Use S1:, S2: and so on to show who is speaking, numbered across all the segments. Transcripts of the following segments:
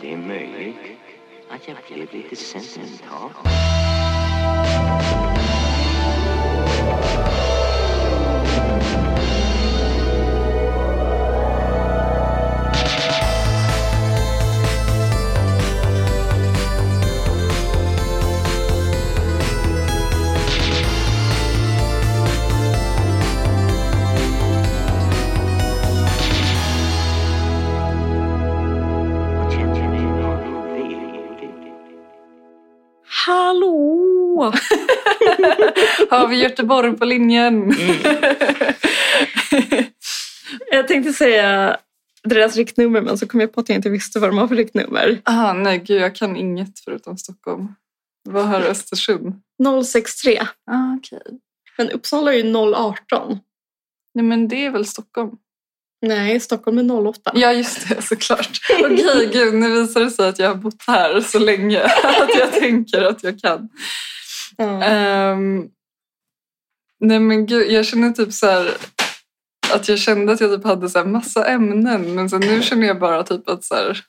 S1: Det är möjligt att jag blev lite sentimental. Jag känner mig väldigt...
S2: Hallå! Har vi Göteborg på linjen?
S3: Jag tänkte säga deras riktnummer men så kom jag på att jag inte visste vad de har för riktnummer.
S2: Ah, nej, gud, jag kan inget förutom Stockholm. Vad har Östersund?
S3: 063.
S2: Ah, okej.
S3: Men Uppsala är ju 018.
S2: Nej, men det är väl Stockholm?
S3: Nej, Stockholm är 08.
S2: Ja, just det, såklart. Okej, gud, nu visar det sig att jag har bott här så länge att jag tänker att jag kan.
S3: Ja.
S2: Ehm, nej men gud, jag känner typ så här att jag kände att jag typ hade så här massa ämnen men sen nu känner jag bara typ att så här,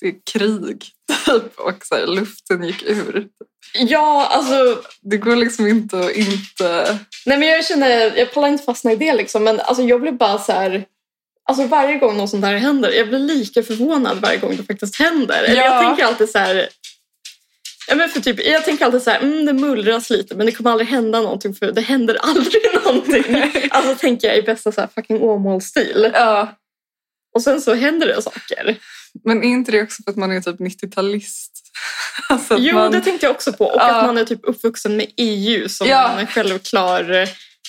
S2: det är krig typ och så här, luften gick ur.
S3: ja, alltså.
S2: Det går liksom inte att inte...
S3: Nej men jag känner, jag pallar inte fastna i det liksom. Men alltså jag blir bara så här. Alltså varje gång något sånt här händer, jag blir lika förvånad varje gång det faktiskt händer. Eller
S2: Ja.
S3: Jag tänker alltid så här. Ja, men för typ, jag tänker alltid så här, mm, det mullras lite men det kommer aldrig hända någonting för det händer aldrig någonting. Alltså tänker jag i bästa så här fucking Åmål-stil.
S2: ja,
S3: Och sen så händer det saker.
S2: men är inte det också för att man är typ 90-talist? Alltså att
S3: Jo,
S2: man...
S3: det tänkte jag också på. Och
S2: Ja.
S3: att man är typ uppvuxen med EU som
S2: Ja.
S3: en självklar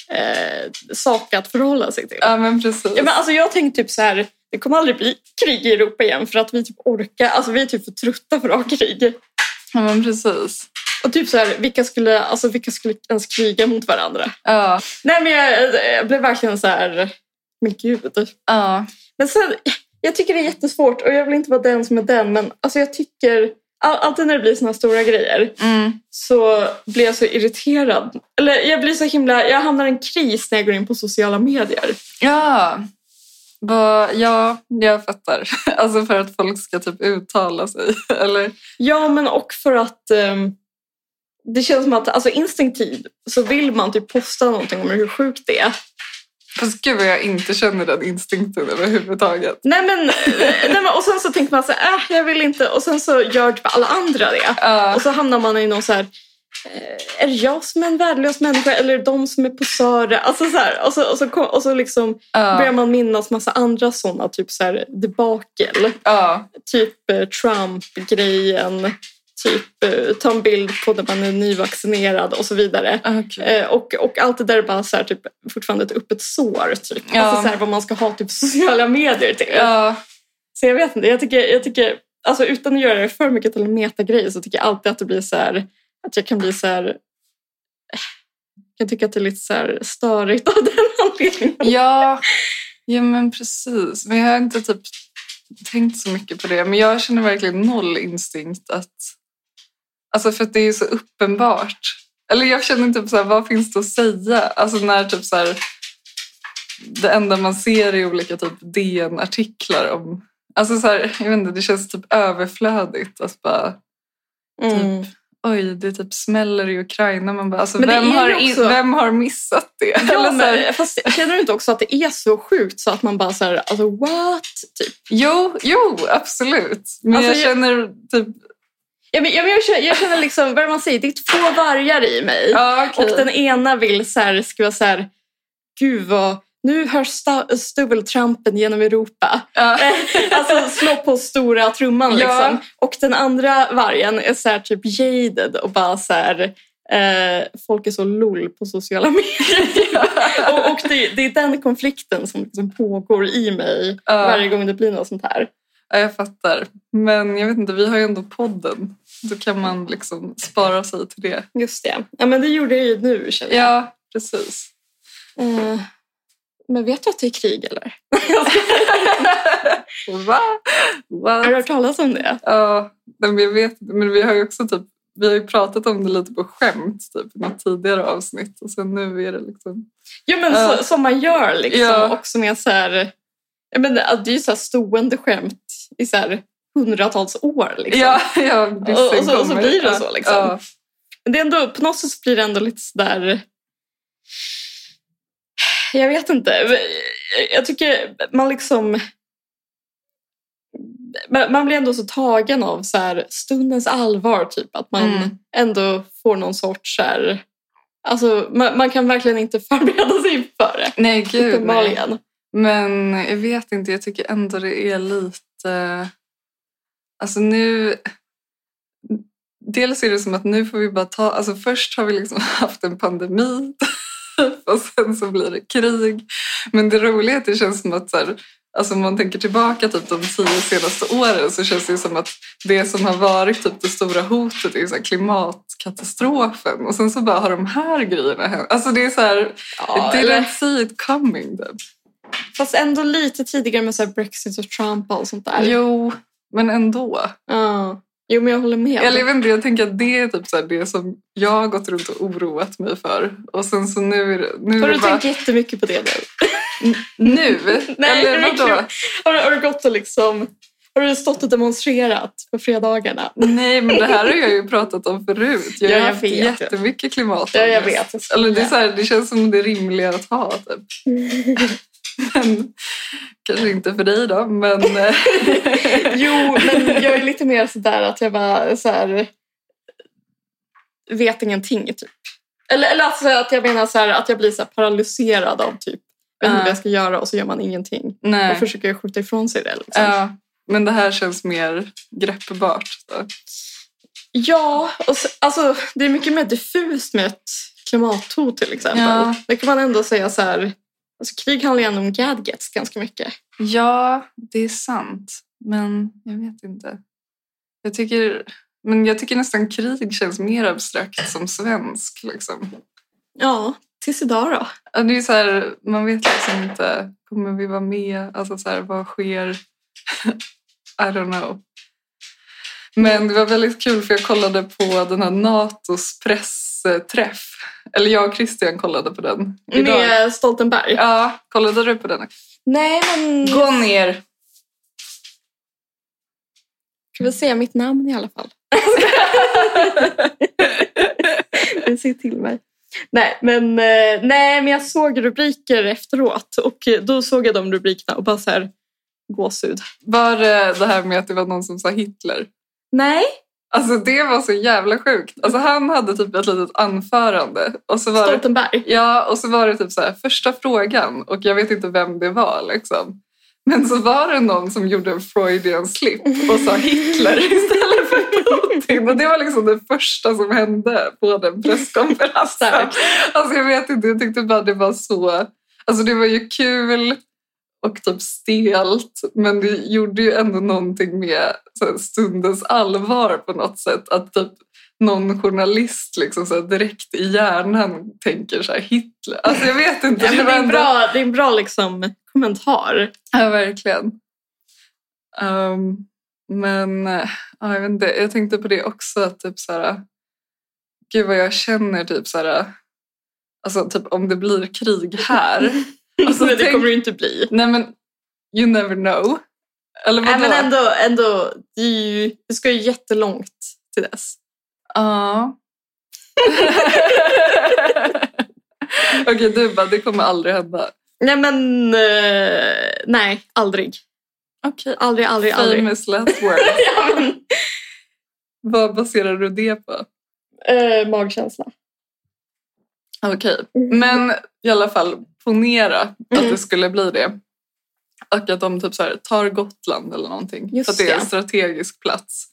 S3: eh, sak att förhålla sig till.
S2: Ja, men precis.
S3: Ja, men alltså, jag tänkte typ så här, det kommer aldrig bli krig i Europa igen för att vi typ orkar, alltså vi är typ för trötta för att ha krig.
S2: ja, men precis.
S3: Och typ så här, vilka skulle, alltså, vilka skulle ens kriga mot varandra?
S2: Ja,
S3: Nej men jag, jag blev verkligen så här, men gud.
S2: ja.
S3: Men sen, jag tycker det är jättesvårt och jag vill inte vara den som är den men alltså jag tycker, all, alltid när det blir såna här stora grejer
S2: Mm.
S3: så blir jag så irriterad. Eller jag blir så himla, jag hamnar i en kris när jag går in på sociala medier.
S2: Ja. Va, ja, jag fattar. Alltså för att folk ska typ uttala sig. Eller?
S3: Ja, men och för att ehm, det känns som att alltså instinktivt så vill man typ posta någonting om hur sjukt det är.
S2: Fast gud vad jag inte känner den instinkten överhuvudtaget.
S3: Nej men, nej, men och sen så tänker man så här, äh, jag vill inte och sen så gör typ alla andra det.
S2: Ja,
S3: Och så hamnar man i någon så här, eh, är det jag som är en värdelös människa eller är det de som är posörer? Alltså så här, och så, och så, kom- och så liksom börjar
S2: ja,
S3: man minnas massa andra sådana typ så här debakel.
S2: ja,
S3: typ eh, Trump-grejen, typ eh, ta en bild på när man är nyvaccinerad och så vidare.
S2: okej.
S3: Eh, Och, och allt det där är bara så här, typ, fortfarande ett öppet sår. Typ.
S2: Ja.
S3: Alltså så här, vad man ska ha typ, sociala medier till.
S2: ja,
S3: Så jag vet inte, jag tycker, jag tycker alltså, utan att göra det för mycket till en metagrej så tycker jag alltid att det blir så här, att jag kan bli så här eh, jag tycker att det är lite så här störigt av den anledningen.
S2: ja, ja, men precis. Men jag har inte typ tänkt så mycket på det. Men jag känner verkligen noll instinkt att... Alltså för att det är så uppenbart. Eller jag känner typ så här, vad finns det att säga? Alltså när typ så här, det enda man ser är olika typ DN-artiklar om... Alltså så här, jag vet inte, det känns typ överflödigt att bara
S3: Mm.
S2: oj, det typ smäller i Ukraina. Man bara, alltså,
S3: Men det
S2: vem,
S3: är ju
S2: har in,
S3: också-
S2: vem har missat det? Eller
S3: Ja,
S2: så här,
S3: men, fast känner du inte också att det är så sjukt så att man bara så här, alltså what? Typ.
S2: jo, jo, absolut. Men
S3: Alltså,
S2: jag
S3: jag-
S2: känner typ...
S3: Ja, men, ja, men jag, känner, jag känner liksom, vad är det man säger, det är två vargar i mig.
S2: Ja,
S3: Och
S2: okej.
S3: den ena vill så här, skriva så här, gud vad, nu hörs sta- stöveltrampen genom Europa.
S2: Ja.
S3: alltså slå på stora trumman
S2: Ja.
S3: liksom. Och den andra vargen är så här typ jaded och bara så här, eh, folk är så lol på sociala medier. och och det, det är den konflikten som liksom pågår i mig
S2: Ja.
S3: varje gång det blir något sånt här.
S2: Ja, jag fattar. Men jag vet inte, vi har ju ändå podden. Då kan man liksom spara sig till det.
S3: Just det. Ja, men det gjorde jag ju nu känner jag.
S2: Ja, precis.
S3: Eh, men vet du att det är krig eller?
S2: Va?
S3: Har du
S2: Va?
S3: hört talas om det?
S2: Ja, nej, men jag vet inte. Men vi har ju också typ... Vi har ju pratat om det lite på skämt typ, i något tidigare avsnitt. Och sen nu är det liksom...
S3: Ja, men
S2: Ja.
S3: Så, som man gör liksom.
S2: Ja.
S3: Och som är så här... Jag menar, det är ju så här stående skämt i så här hundratals år. Liksom.
S2: Ja, ja,
S3: och, och, så, och så
S2: kommer.
S3: blir det så. Liksom.
S2: Ja.
S3: Men det är ändå, på något sätt så blir det ändå lite sådär... Jag vet inte. Jag tycker man liksom... man- Man blir ändå så tagen av så här, stundens allvar. typ Att man
S2: Mm.
S3: ändå får någon sorts... Så här, alltså, man, man kan verkligen inte förbereda sig inför det.
S2: Nej, gud. Nej.
S3: Uppenbarligen.
S2: Men jag vet inte, jag tycker ändå det är lite... Alltså nu... Dels är det som att nu får vi bara ta... Alltså först har vi liksom haft en pandemi typ, och sen så blir det krig. Men det roliga är att det känns som att så här, alltså om man tänker tillbaka typ de tio senaste åren så känns det ju som att det som har varit typ det stora hotet är så här klimatkatastrofen och sen så bara har de här grejerna hänt. Alltså det är så här,
S3: Ja,
S2: didn't
S3: eller,
S2: see it coming. Typ.
S3: fast ändå lite tidigare med så här Brexit och Trump och allt sånt där.
S2: Jo, men ändå.
S3: Ja. jo men jag håller med.
S2: Eller jag vet inte, jag tänker att det är typ så här det som jag har gått runt och oroat mig för. Och sen så nu är det... Nu,
S3: Har
S2: är
S3: du
S2: det bara,
S3: tänkt jättemycket på det nu?
S2: nu?
S3: Nej,
S2: Eller
S3: det är
S2: vadå?
S3: Har, har du gått och liksom... Har du stått och demonstrerat på fredagarna?
S2: Nej, men det här har jag ju pratat om förut. Jag
S3: Ja,
S2: har
S3: jag
S2: haft
S3: vet.
S2: jättemycket klimatångest.
S3: Ja, jag vet.
S2: Eller det, är så här, det känns som det rimliga att ha. Typ. Men, kanske inte för dig då, men... eh,
S3: Jo, men jag är lite mer sådär att jag bara så här, vet ingenting, typ. Eller, eller alltså att jag menar så här, att jag blir så här paralyserad av typ jag vet inte vad
S2: Ja.
S3: jag ska göra och så gör man ingenting. Och
S2: nej.
S3: försöker skjuta ifrån sig det. Liksom.
S2: Ja, men det här känns mer greppbart. Så.
S3: Ja, och så, alltså, det är mycket mer diffust med ett klimathot till exempel.
S2: Ja.
S3: Det kan man ändå säga så här, alltså, krig handlar ju ändå om gadgets ganska mycket.
S2: Ja, det är sant. Men jag vet inte. Jag tycker, men jag tycker nästan krig känns mer abstrakt som svensk. Liksom.
S3: Ja, tills idag då.
S2: Ja, Det är så här, man vet liksom inte, kommer vi vara med? Alltså så här, vad sker? I don't know. Men det var väldigt kul för jag kollade på den här Natos pressträff. Eller jag och Christian kollade på den idag.
S3: Med Stoltenberg.
S2: Ja, kollade du på den?
S3: Nej, men...
S2: Gå ner!
S3: Ska vi säga mitt namn i alla fall? Men Se till mig. Nej men, eh, nej, men jag såg rubriker efteråt och eh, då såg jag de rubrikerna och bara så här gåshud.
S2: Var det det här med att det var någon som sa Hitler?
S3: Nej,
S2: Alltså det var så jävla sjukt. Alltså han hade typ ett litet anförande och så var det,
S3: Stoltenberg.
S2: ja, och så var det typ så här första frågan och jag vet inte vem det var liksom. Men så var det någon som gjorde en Freudian slip och sa Hitler istället för Putin. Och det var liksom det första som hände på den presskonferensen.
S3: Starkt.
S2: Alltså jag vet inte, jag tyckte bara det var så... Alltså det var ju kul och typ stelt men det gjorde ju ändå någonting med så här, stundens allvar på något sätt. Att typ någon journalist liksom så här, direkt i hjärnan tänker så här Hitler. Alltså jag vet inte.
S3: Ja, men det, är en
S2: ändå-
S3: bra, det är en bra liksom, kommentar.
S2: Ja, verkligen. Ehm, men eh, ja, jag, vet inte, jag tänkte på det också, att typ så här, gud vad jag känner typ så här, alltså typ om det blir krig här. Alltså,
S3: men det
S2: tänk-
S3: kommer det ju inte bli.
S2: Nej men, you never know. Eller
S3: Nej,
S2: vadå?
S3: men ändå, ändå det, är ju, det ska ju jättelångt till dess.
S2: Ja. Okej, du bara, det kommer aldrig hända.
S3: Nej men, eh, nej, aldrig.
S2: Okej.
S3: Aldrig, aldrig, aldrig.
S2: Famous last word.
S3: Ja, men,
S2: Vad baserar du det på?
S3: eh, magkänsla.
S2: Okej, men i alla fall ponera att
S3: Mm.
S2: det skulle bli det. Och att de typ så här, tar Gotland eller någonting.
S3: Just
S2: för att det är en
S3: det.
S2: strategisk plats.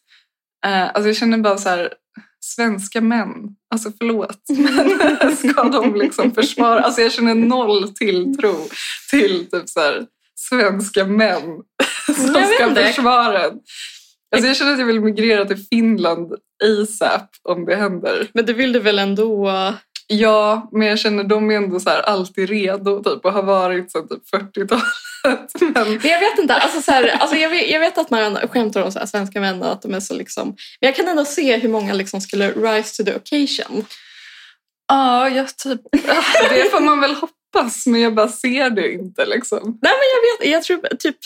S2: Eh, alltså jag känner bara så här, svenska män, alltså förlåt, men ska de liksom försvara? Alltså jag känner noll tilltro till typ så här, svenska män som
S3: Jag vet
S2: ska
S3: inte.
S2: försvara en. Alltså jag känner att jag vill migrera till Finland ASAP om det händer.
S3: Men det vill du väl ändå?
S2: Ja, men jag känner de är ändå så här alltid redo typ, och har varit sedan typ 40-talet. Men,
S3: Men jag vet inte. Alltså, så här, alltså, jag, vet, jag vet att man skämtar om så här, svenska män och att de är så liksom... Men jag kan ändå se hur många liksom skulle rise to the occasion.
S2: ja, jag typ... Det får man väl hoppas, men jag bara ser det inte. Liksom.
S3: Nej men jag vet, jag tror typ...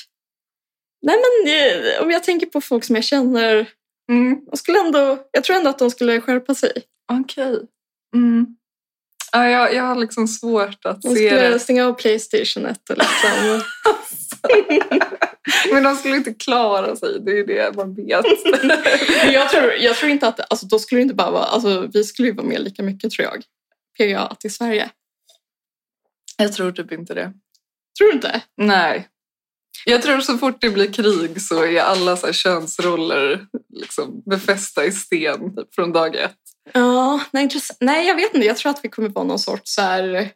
S3: Nej, men eh, om jag tänker på folk som jag känner.
S2: Mm.
S3: De skulle ändå, jag tror ändå att de skulle skärpa sig.
S2: Okej. Mm. Ja, jag, jag har liksom svårt att
S3: De
S2: se
S3: skulle
S2: det.
S3: stänga av Playstation 1 och liksom...
S2: Men de skulle inte klara sig, det är ju det man vet.
S3: Men jag, tror, jag tror inte att... Alltså, då skulle det inte bara vara... Alltså, vi skulle ju vara med lika mycket, tror jag. PGA till Sverige.
S2: jag tror typ inte det.
S3: Tror du inte?
S2: Nej. Jag tror så fort det blir krig så är alla så här könsroller liksom befästa i sten typ, från dag ett.
S3: Ja, nej, intress- nej, jag vet inte. Jag tror att vi kommer vara någon sorts så här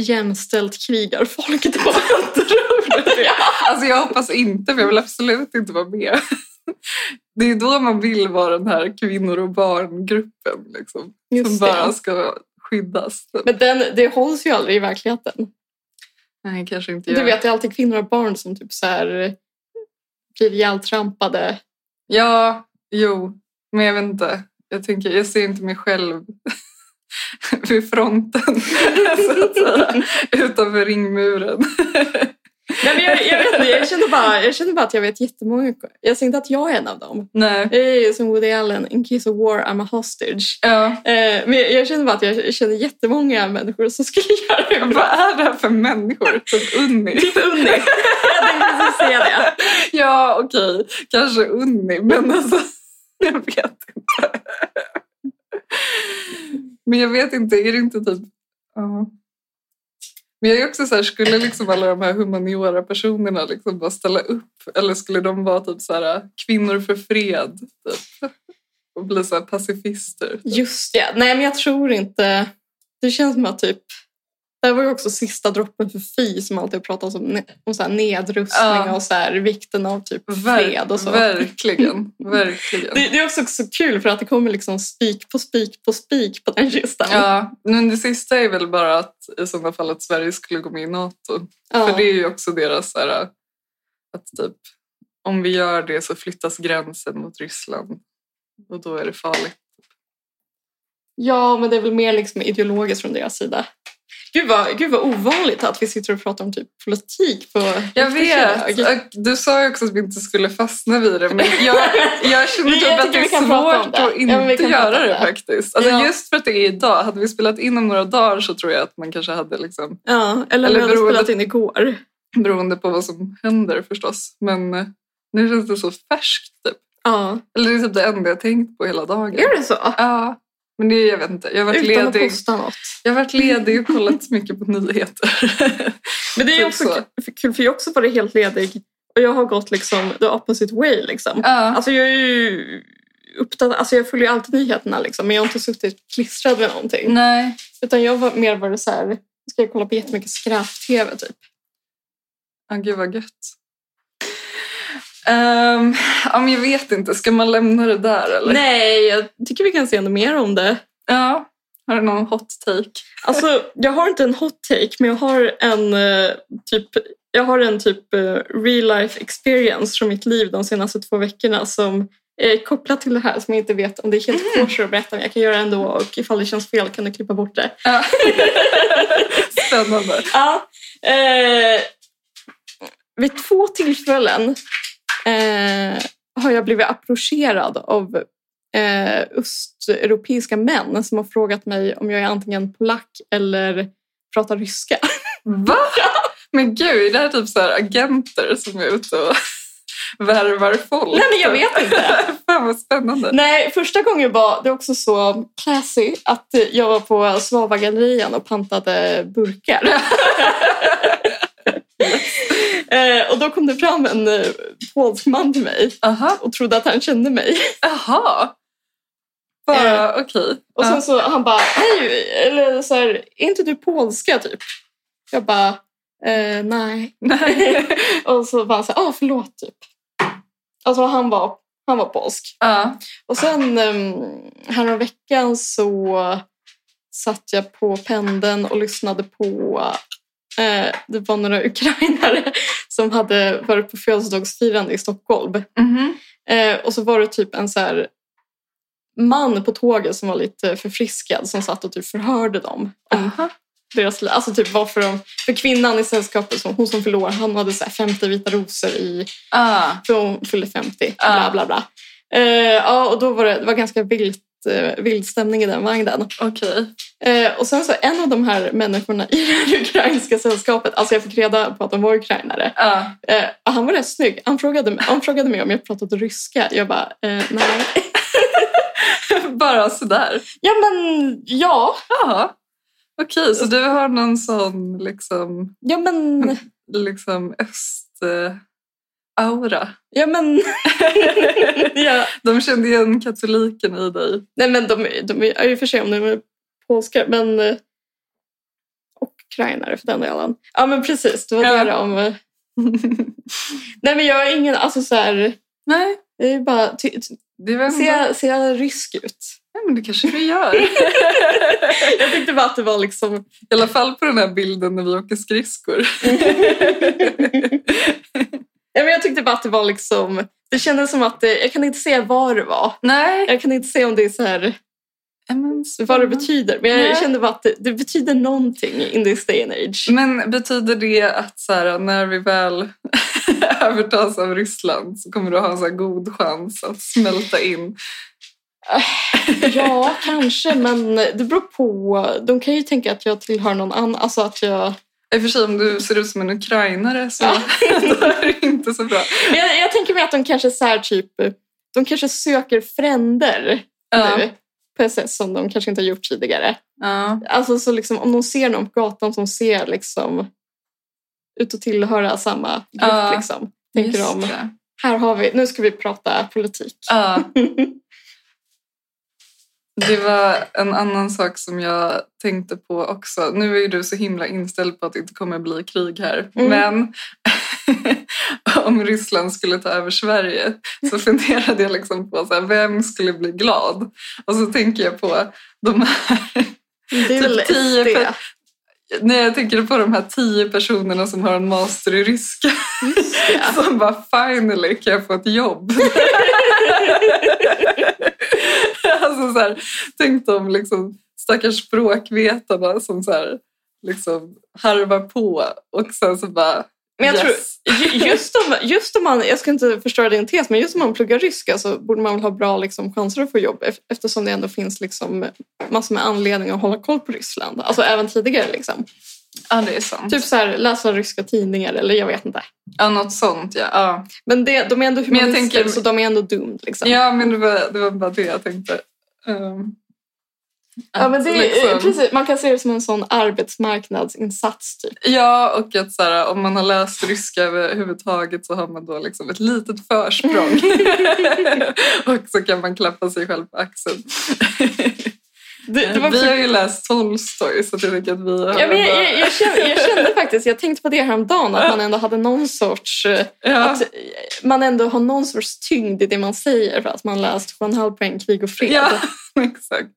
S3: jämställt krigarfolk. tror jag.
S2: Alltså jag hoppas inte, för jag vill absolut inte vara med. Det är då man vill vara den här kvinnor och barngruppen liksom, som
S3: Just
S2: bara
S3: det.
S2: ska skyddas.
S3: Men den, det hålls ju aldrig i verkligheten.
S2: Nej, kanske inte
S3: Du
S2: jag.
S3: vet, det är alltid kvinnor och barn som typ så här blir ihjältrampade.
S2: Ja, jo, men jag vet inte. Jag, tänker, jag ser inte mig själv vid fronten, så att säga, utanför ringmuren.
S3: Nej, men jag, jag, vet inte, jag, känner bara, jag känner bara att jag vet jättemånga. Jag ser inte att jag är en av dem.
S2: Nej.
S3: Jag är som Woody Allen, in case of war I'm a hostage.
S2: Ja,
S3: Eh, men jag, jag känner bara att jag känner jättemånga människor som skulle göra det
S2: vad
S3: bra.
S2: är det här för människor? Typ Unni?
S3: Typ Unni. Jag tänkte precis säga det.
S2: Ja, okej. Kanske Unni, men alltså, jag vet inte. Men jag vet inte, är det inte typ... ja. Men jag är också så här, skulle liksom alla de här humaniora-personerna liksom bara ställa upp? Eller skulle de vara typ så här, kvinnor för fred? Typ? Och bli så här pacifister?
S3: Just det. Nej, men jag tror inte... Det känns som att typ... Det här var ju också sista droppen för Fi som alltid har pratat om, ne- om så här nedrustning
S2: Ja.
S3: och så här, vikten av typ fred och så.
S2: Verkligen, verkligen.
S3: Det, det är också så kul för att det kommer liksom spik på spik på spik på den kistan.
S2: Ja, men det sista är väl bara att i sådana fall att Sverige skulle gå med i NATO.
S3: Ja.
S2: För det är ju också deras så här, att typ om vi gör det så flyttas gränsen mot Ryssland och då är det farligt.
S3: Ja, men det är väl mer liksom ideologiskt från deras sida. Gud vad, gud vad ovanligt att vi sitter och pratar om typ politik på...
S2: Jag vet! Och Du sa ju också att vi inte skulle fastna vid det men jag, jag känner
S3: Men jag
S2: typ att
S3: tycker
S2: det
S3: vi
S2: är
S3: kan prata om
S2: svårt
S3: det.
S2: att
S3: Ja, men vi
S2: inte
S3: kan prata
S2: göra
S3: om
S2: det
S3: det.
S2: faktiskt. Alltså
S3: Ja.
S2: just för att det är idag. Hade vi spelat in om några dagar så tror jag att man kanske hade liksom
S3: Ja, eller,
S2: Eller
S3: eller vi hade
S2: beroende-
S3: spelat in igår.
S2: beroende på vad som händer förstås. Men eh, nu känns det så färskt typ.
S3: Ja.
S2: Eller det är typ det enda jag tänkt på hela dagen.
S3: Är det så?
S2: Ja, men det, jag vet inte. Jag har varit
S3: Utan att
S2: ledig.
S3: posta något.
S2: Jag har varit ledig och kollat mycket på nyheter.
S3: Men det är
S2: Typ
S3: också
S2: så.
S3: kul- för- kul för jag har också varit helt ledig och jag har gått liksom the opposite way liksom.
S2: ja.
S3: Alltså jag är ju uppdaterad, alltså jag följer ju alltid nyheterna liksom men jag har inte suttit klistrad med någonting.
S2: Nej.
S3: Utan jag var mer varit så här, nu ska jag kolla på jättemycket skräp-tv typ.
S2: Ja, gud vad gött. Ehm, ja, men jag vet inte. Ska man lämna det där eller?
S3: Nej, jag tycker vi kan se ändå mer om det.
S2: Ja. Har du någon hot take?
S3: Alltså jag har inte en hot take men jag har en eh, typ jag har en typ eh, real life experience från mitt liv de senaste två veckorna som är kopplad till det här som jag inte vet om det är helt kosher att berätta men jag kan göra det ändå och ifall det känns fel kan du klippa bort det.
S2: Ja. Spännande.
S3: Ja, eh, vid två tillfällen eh, har jag blivit approcherad av eh, östeuropeiska män som har frågat mig om jag är antingen polack eller pratar ryska.
S2: Va? Men gud, är det här typ så här agenter som är ute och värvar folk?
S3: Nej, men jag vet inte.
S2: Fan vad spännande.
S3: Nej, första gången var det också så classy att jag var på Svavagallerian och pantade burkar. Eh, och då kom det fram en eh, polsk man till mig
S2: Aha.
S3: och trodde att han kände mig.
S2: Jaha. Bara, okej.
S3: Eh. Och sen
S2: Ja.
S3: så han bara, hej, eller så här, är inte du polska typ? Jag bara, eh, nej.
S2: Nej.
S3: och så var han så här, ah förlåt typ. Alltså han var, han var polsk.
S2: Ja.
S3: Och sen um, veckan så satt jag på pendeln och lyssnade på eh, det var några ukrainare som hade varit på födelsedagsfirande i Stockholm.
S2: Mhm.
S3: Eh, och så var det typ en så här
S2: Ah.
S3: man på tåget som var lite förfriskad som satt och typ förhörde dem om
S2: Aha.
S3: deras liv. Alltså typ varför de... För kvinnan i sällskapet, som, hon som förlorar, han hade så här 50 vita rosor i...
S2: Ah,
S3: För hon fyllde 50.
S2: Ja.
S3: Bla, bla, bla. Eh, ja, och då var det, det var ganska vilt, eh, vild stämning i den vagnen.
S2: okej.
S3: Eh, och sen så en av de här människorna i det här ukrainska sällskapet, alltså jag fick reda på att de var ukrainare,
S2: Ah.
S3: Eh, och han var rätt snygg. Han frågade, han frågade mig om jag pratade ryska. Jag bara, eh, nej.
S2: Bara sådär.
S3: Ja, men ja.
S2: Ja. Okej, så du har någon sån liksom,
S3: Ja, men...
S2: liksom öst-aura.
S3: Ja, men... ja.
S2: De kände igen katoliken i dig.
S3: Nej, men de, de är ju för sig om de är polska, men... eh, Och ukrainare för den delen. Ja, men precis. Det var
S2: Ja.
S3: det om... eh. Nej, men jag har ingen... Alltså så här...
S2: Nej,
S3: Jag är bara... Ty, ty,
S2: det var
S3: ser, jag, ser jag rysk ut?
S2: Nej, men det kanske du gör.
S3: jag tänkte bara att det var liksom...
S2: I alla fall på den här bilden när vi åker skridskor.
S3: Ja, men jag tyckte bara att det var liksom... Det kändes som att... Det, jag kan inte se vad det var.
S2: Nej.
S3: Jag kan inte se om det är så här,
S2: Men,
S3: vad det betyder. Men jag
S2: Nej.
S3: kände bara att det, det betyder någonting in this day and age.
S2: Men betyder det att så här, när vi väl övertas av Ryssland så kommer du ha en så här god chans att smälta in?
S3: Ja, kanske. Men det beror på. De kan ju tänka att jag tillhör någon annan. Alltså att jag...
S2: I och för sig, om du ser ut som en ukrainare så
S3: Ja.
S2: då är det inte så bra.
S3: Men Jag, jag tänker mig att de kanske så här typ... De kanske söker fränder
S2: Ja.
S3: nu. På ett sätt som de kanske inte har gjort tidigare.
S2: Ja.
S3: Alltså så liksom, om de ser någon på gatan som ser liksom ut och tillhöra samma grupp
S2: Ja.
S3: liksom. Tänker
S2: Just
S3: de,
S2: det.
S3: här har vi, nu ska vi prata politik.
S2: Ja. Det var en annan sak som jag tänkte på också. Nu är ju du så himla inställd på att det inte kommer bli krig här.
S3: Mm.
S2: Men om Ryssland skulle ta över Sverige så funderade jag liksom på så här, vem skulle bli glad? Och så tänker jag på de här,
S3: Det är väl
S2: Typ tio
S3: SD.
S2: per- nej, jag tänker på de här tio personerna som har en master i ryska
S3: Just det.
S2: som bara finally kan jag få ett jobb. alltså så här, tänk de liksom, stackars språkvetarna som så här, liksom, harvar på och sen så bara
S3: Men jag
S2: yes.
S3: tror, ju- just om, just om man, jag ska inte förstöra din tes, men just om man pluggar ryska så borde man väl ha bra liksom, chanser att få jobb ef- eftersom det ändå finns liksom, massor med anledning att hålla koll på Ryssland. Alltså även tidigare. Liksom.
S2: Ja, det är sant.
S3: Typ så här, läsa ryska tidningar eller jag vet inte.
S2: Ja, något sånt ja. Ja,
S3: Men det, de är ändå
S2: jag
S3: humanister
S2: tänker-
S3: så de är ändå doomed. Liksom.
S2: ja men det var, det var bara det jag tänkte. Ehm,
S3: Ja, men
S2: att liksom-
S3: det, är- precis, man kan se det som en sån arbetsmarknadsinsats. Typ.
S2: Ja, och att så här, om man har läst ryska överhuvudtaget så har man då liksom ett litet försprång. och så kan man klappa sig själv på axeln.
S3: Det, det var
S2: vi har ju läst Tolstoj så att jag tänker att vi har...
S3: Ja, men jag, jag, jag, kände, jag kände faktiskt, jag tänkte på det häromdagen, att man ändå hade någon sorts... eh,
S2: Ja.
S3: Att eh, man ändå har någon sorts tyngd i det man säger för att man läst Juan Halpern, Krig och fred.
S2: ja, exakt.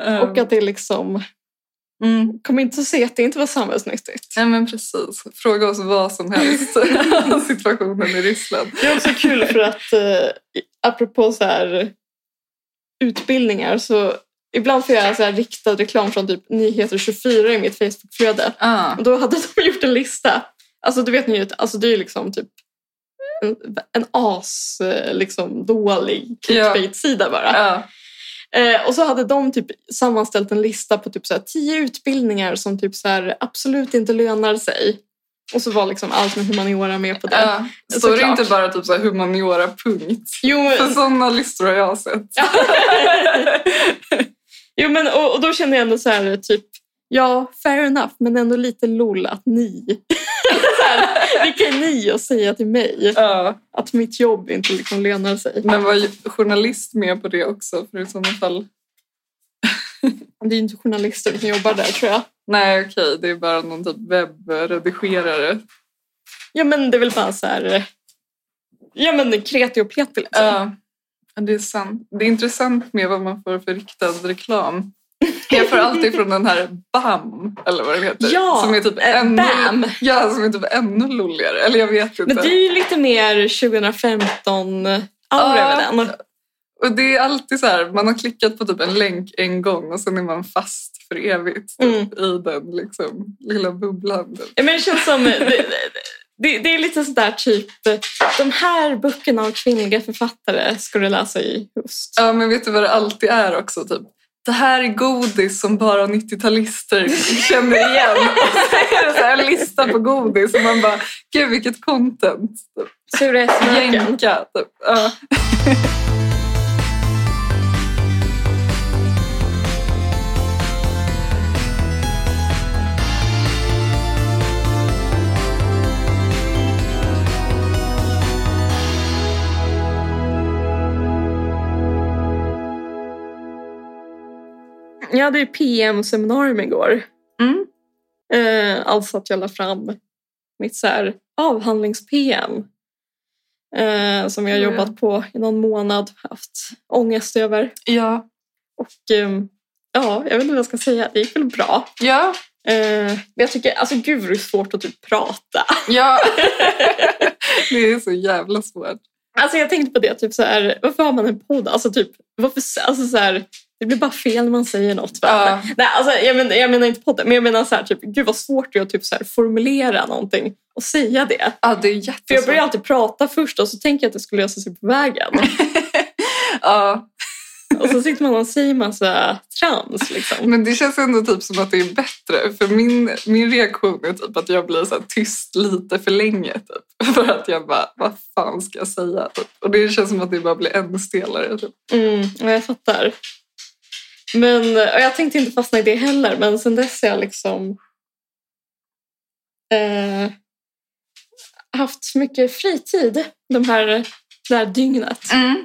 S2: Ehm,
S3: Och att det liksom...
S2: mm.
S3: Kom inte att se att det inte var samhällsnyttigt.
S2: Nej men precis, fråga oss vad som helst om situationen i Ryssland.
S3: Det är också kul för att, eh, apropå så här, utbildningar, så ibland får jag så här riktad reklam från typ Nyheter 24 i mitt Facebookflöde.
S2: Ah.
S3: Och då hade de gjort en lista. Alltså du vet ni ju, alltså det är ju liksom typ en, en as eh, liksom dålig clickbait-sida bara.
S2: Ja.
S3: Eh, och så hade de typ sammanställt en lista på typ så här tio utbildningar som typ så här absolut inte lönar sig. Och så var liksom allt med humaniora med på det.
S2: Ja. Står det
S3: Såklart.
S2: inte bara typ så här humaniora punkt?
S3: Jo,
S2: För sådana listor har jag sett.
S3: jo men och, och då kände jag ändå så här typ Ja, fair enough, men ändå lite lol att ni... Så här, Vilka är ni att säga till mig
S2: Ja.
S3: att mitt jobb inte liksom lönar sig?
S2: Men var ju journalist med på det också? För i sådana fall...
S3: Det är ju inte journalister som jobbar där tror jag.
S2: Nej, okej, det är bara någon typ webbredigerare.
S3: Ja men det är väl bara så här... eh, Ja men kreti och pleti liksom.
S2: Ja, det är sant. Det är intressant med vad man får för riktad reklam. Jag får alltid från den här BAM, eller vad den heter.
S3: Ja,
S2: som är typ
S3: eh,
S2: ännu,
S3: BAM.
S2: Ja, som är typ ännu lulligare. Eller jag vet inte.
S3: Men det är ju lite mer 2015 aura
S2: Ja.
S3: över den.
S2: Och det är alltid så här, man har klickat på typ en länk en gång och sen är man fast för evigt typ,
S3: Mm.
S2: i den liksom, lilla bubblan. typ.
S3: Ja, Men det känns som... Det, det, det är lite sådär typ... De här böckerna av kvinnliga författare ska du läsa i höst.
S2: Ja, men vet du vad det alltid är också? Typ? Det här är godis som bara 90-talister känner igen. Och så är det så här en lista på godis och man bara, gud vilket content. Typ.
S3: Sura Esmöken.
S2: Jänka, typ. Ja.
S3: Jag hade ju PM-seminarium igår.
S2: Mm.
S3: Eh, alltså att jag la fram mitt så här avhandlings-PM. Eh, som jag har
S2: Mm.
S3: jobbat på i någon månad. Haft ångest över.
S2: ja.
S3: Och ehm, ja, jag vet inte vad jag ska säga. Det gick väl bra.
S2: Ja.
S3: Eh, men jag tycker, alltså gud det är svårt att typ prata.
S2: Ja. Det är så jävla svårt.
S3: Alltså jag tänkte på det, typ så här, varför har man en podd? Alltså typ, varför, alltså så här, det blir bara fel när man säger något. Va?
S2: Ja.
S3: Nej, alltså, jag, men, jag menar inte podden, men jag menar så här, typ, gud vad svårt det är att typ så här, formulera någonting och säga det.
S2: Ja, det är
S3: För jag
S2: jättesvårt.
S3: börjar alltid prata först och så tänker jag att det skulle lösa sig på vägen.
S2: Ja.
S3: Och så sitter man och säger massa trams liksom.
S2: Men det känns ändå typ som att det är bättre. För min, min reaktion är typ att jag blir så här tyst lite för länge. Typ. För att jag bara, vad fan ska jag säga? Typ. Och det känns som att det bara blir ännu stelare. Typ.
S3: Mm, ja, jag fattar. Men, och jag tänkte inte fastna i det heller, men sen dess har jag liksom eh, haft mycket fritid de här, det här dygnet.
S2: Mm,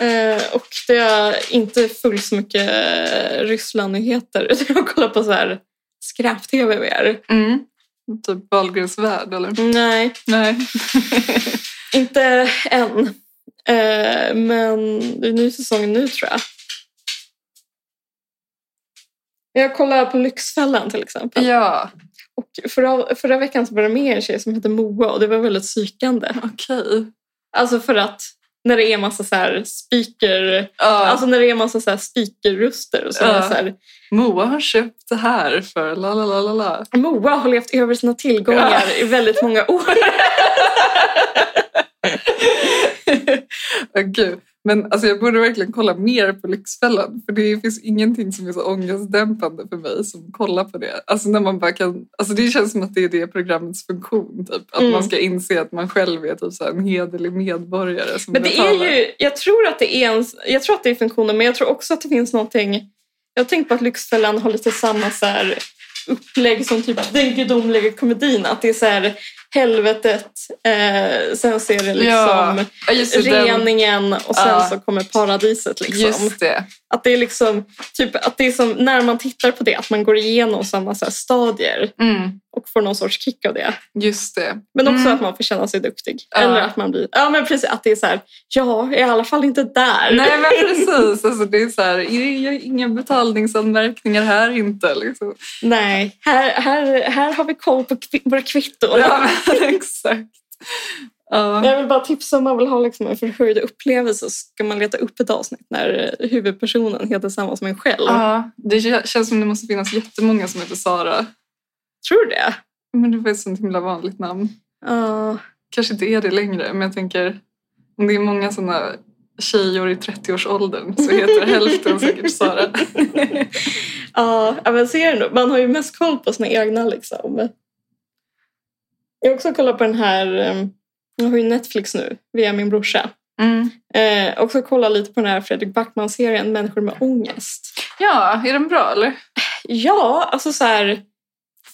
S3: Eh, och det har inte följt så mycket Ryssland-nyheter utan jag har kollat på så här skräp-tv mer.
S2: Mm. Typ Wahlgrens värld eller?
S3: Nej,
S2: Nej.
S3: inte än. Eh, men det är ny säsong nu tror jag. Jag kollar på Lyxfällan till exempel.
S2: Ja,
S3: Och förra, förra veckan så var det med en tjej som hette Moa och det var väldigt psykande.
S2: okej.
S3: Alltså för att när det är massa så här speaker...
S2: Ja.
S3: Alltså när det är massa så här speakerröster och så, är det
S2: Ja.
S3: så här,
S2: Moa har köpt det här för la la la la la.
S3: Moa har levt över sina tillgångar
S2: Ja.
S3: i väldigt många år.
S2: Åh, Gud. Men alltså, jag borde verkligen kolla mer på Lyxfällan. För det finns ingenting som är så ångestdämpande för mig som kollar på det. Alltså, när man bara kan, alltså, det känns som att det är det programmets funktion. Typ. Att
S3: Mm.
S2: man ska inse att man själv är typ, så här, en hederlig medborgare. Som
S3: Men det är
S2: betalar.
S3: ju, jag tror att det är en, jag tror att det är funktionen, men jag tror också att det finns någonting, jag tänker på att Lyxfällan har lite samma så här upplägg som typ den gudomliga komedin, att det är så här helvetet, eh, sen så är det
S2: Ja,
S3: liksom
S2: ja, just det, den-
S3: reningen och sen
S2: Ja.
S3: så kommer paradiset liksom.
S2: Just det.
S3: Att det är liksom, typ att det är som när man tittar på det, att man går igenom samma så här stadier
S2: Mm,
S3: och får någon sorts kick av det.
S2: just det.
S3: Men också
S2: Mm.
S3: att man får känna sig duktig.
S2: Ja.
S3: Eller att man blir... Ja, men precis. Att det är så här... Ja, jag är i alla fall inte där.
S2: Nej men precis, alltså, det är så här, "I- jag- inga betalningsanmärkningar här inte. Liksom.
S3: Nej. Här, här, här har vi koll på kvi- våra kvitton.
S2: Ja, men, exakt. Ja.
S3: Jag vill bara tipsa om man vill ha liksom en förhöjd upplevelse så ska man leta upp ett avsnitt när eh, huvudpersonen heter samma som en själv.
S2: Ja, det kä- känns som det måste finnas jättemånga som heter Sara.
S3: Tror du det?
S2: Men det var ett sånt himla vanligt namn.
S3: Ja.
S2: Kanske inte är det längre, men jag tänker om det är många såna tjejor i 30-årsåldern så heter hälften säkert Sara.
S3: Ja, men ser du? Man har ju mest koll på sina egna liksom. Jag har också kollat på den här... eh, Jag har ju Netflix nu via min brorsa.
S2: Mm.
S3: Eh, också kolla lite på den här Fredrik Backman-serien Människor med ångest.
S2: Ja, är den bra eller?
S3: Ja, alltså så här...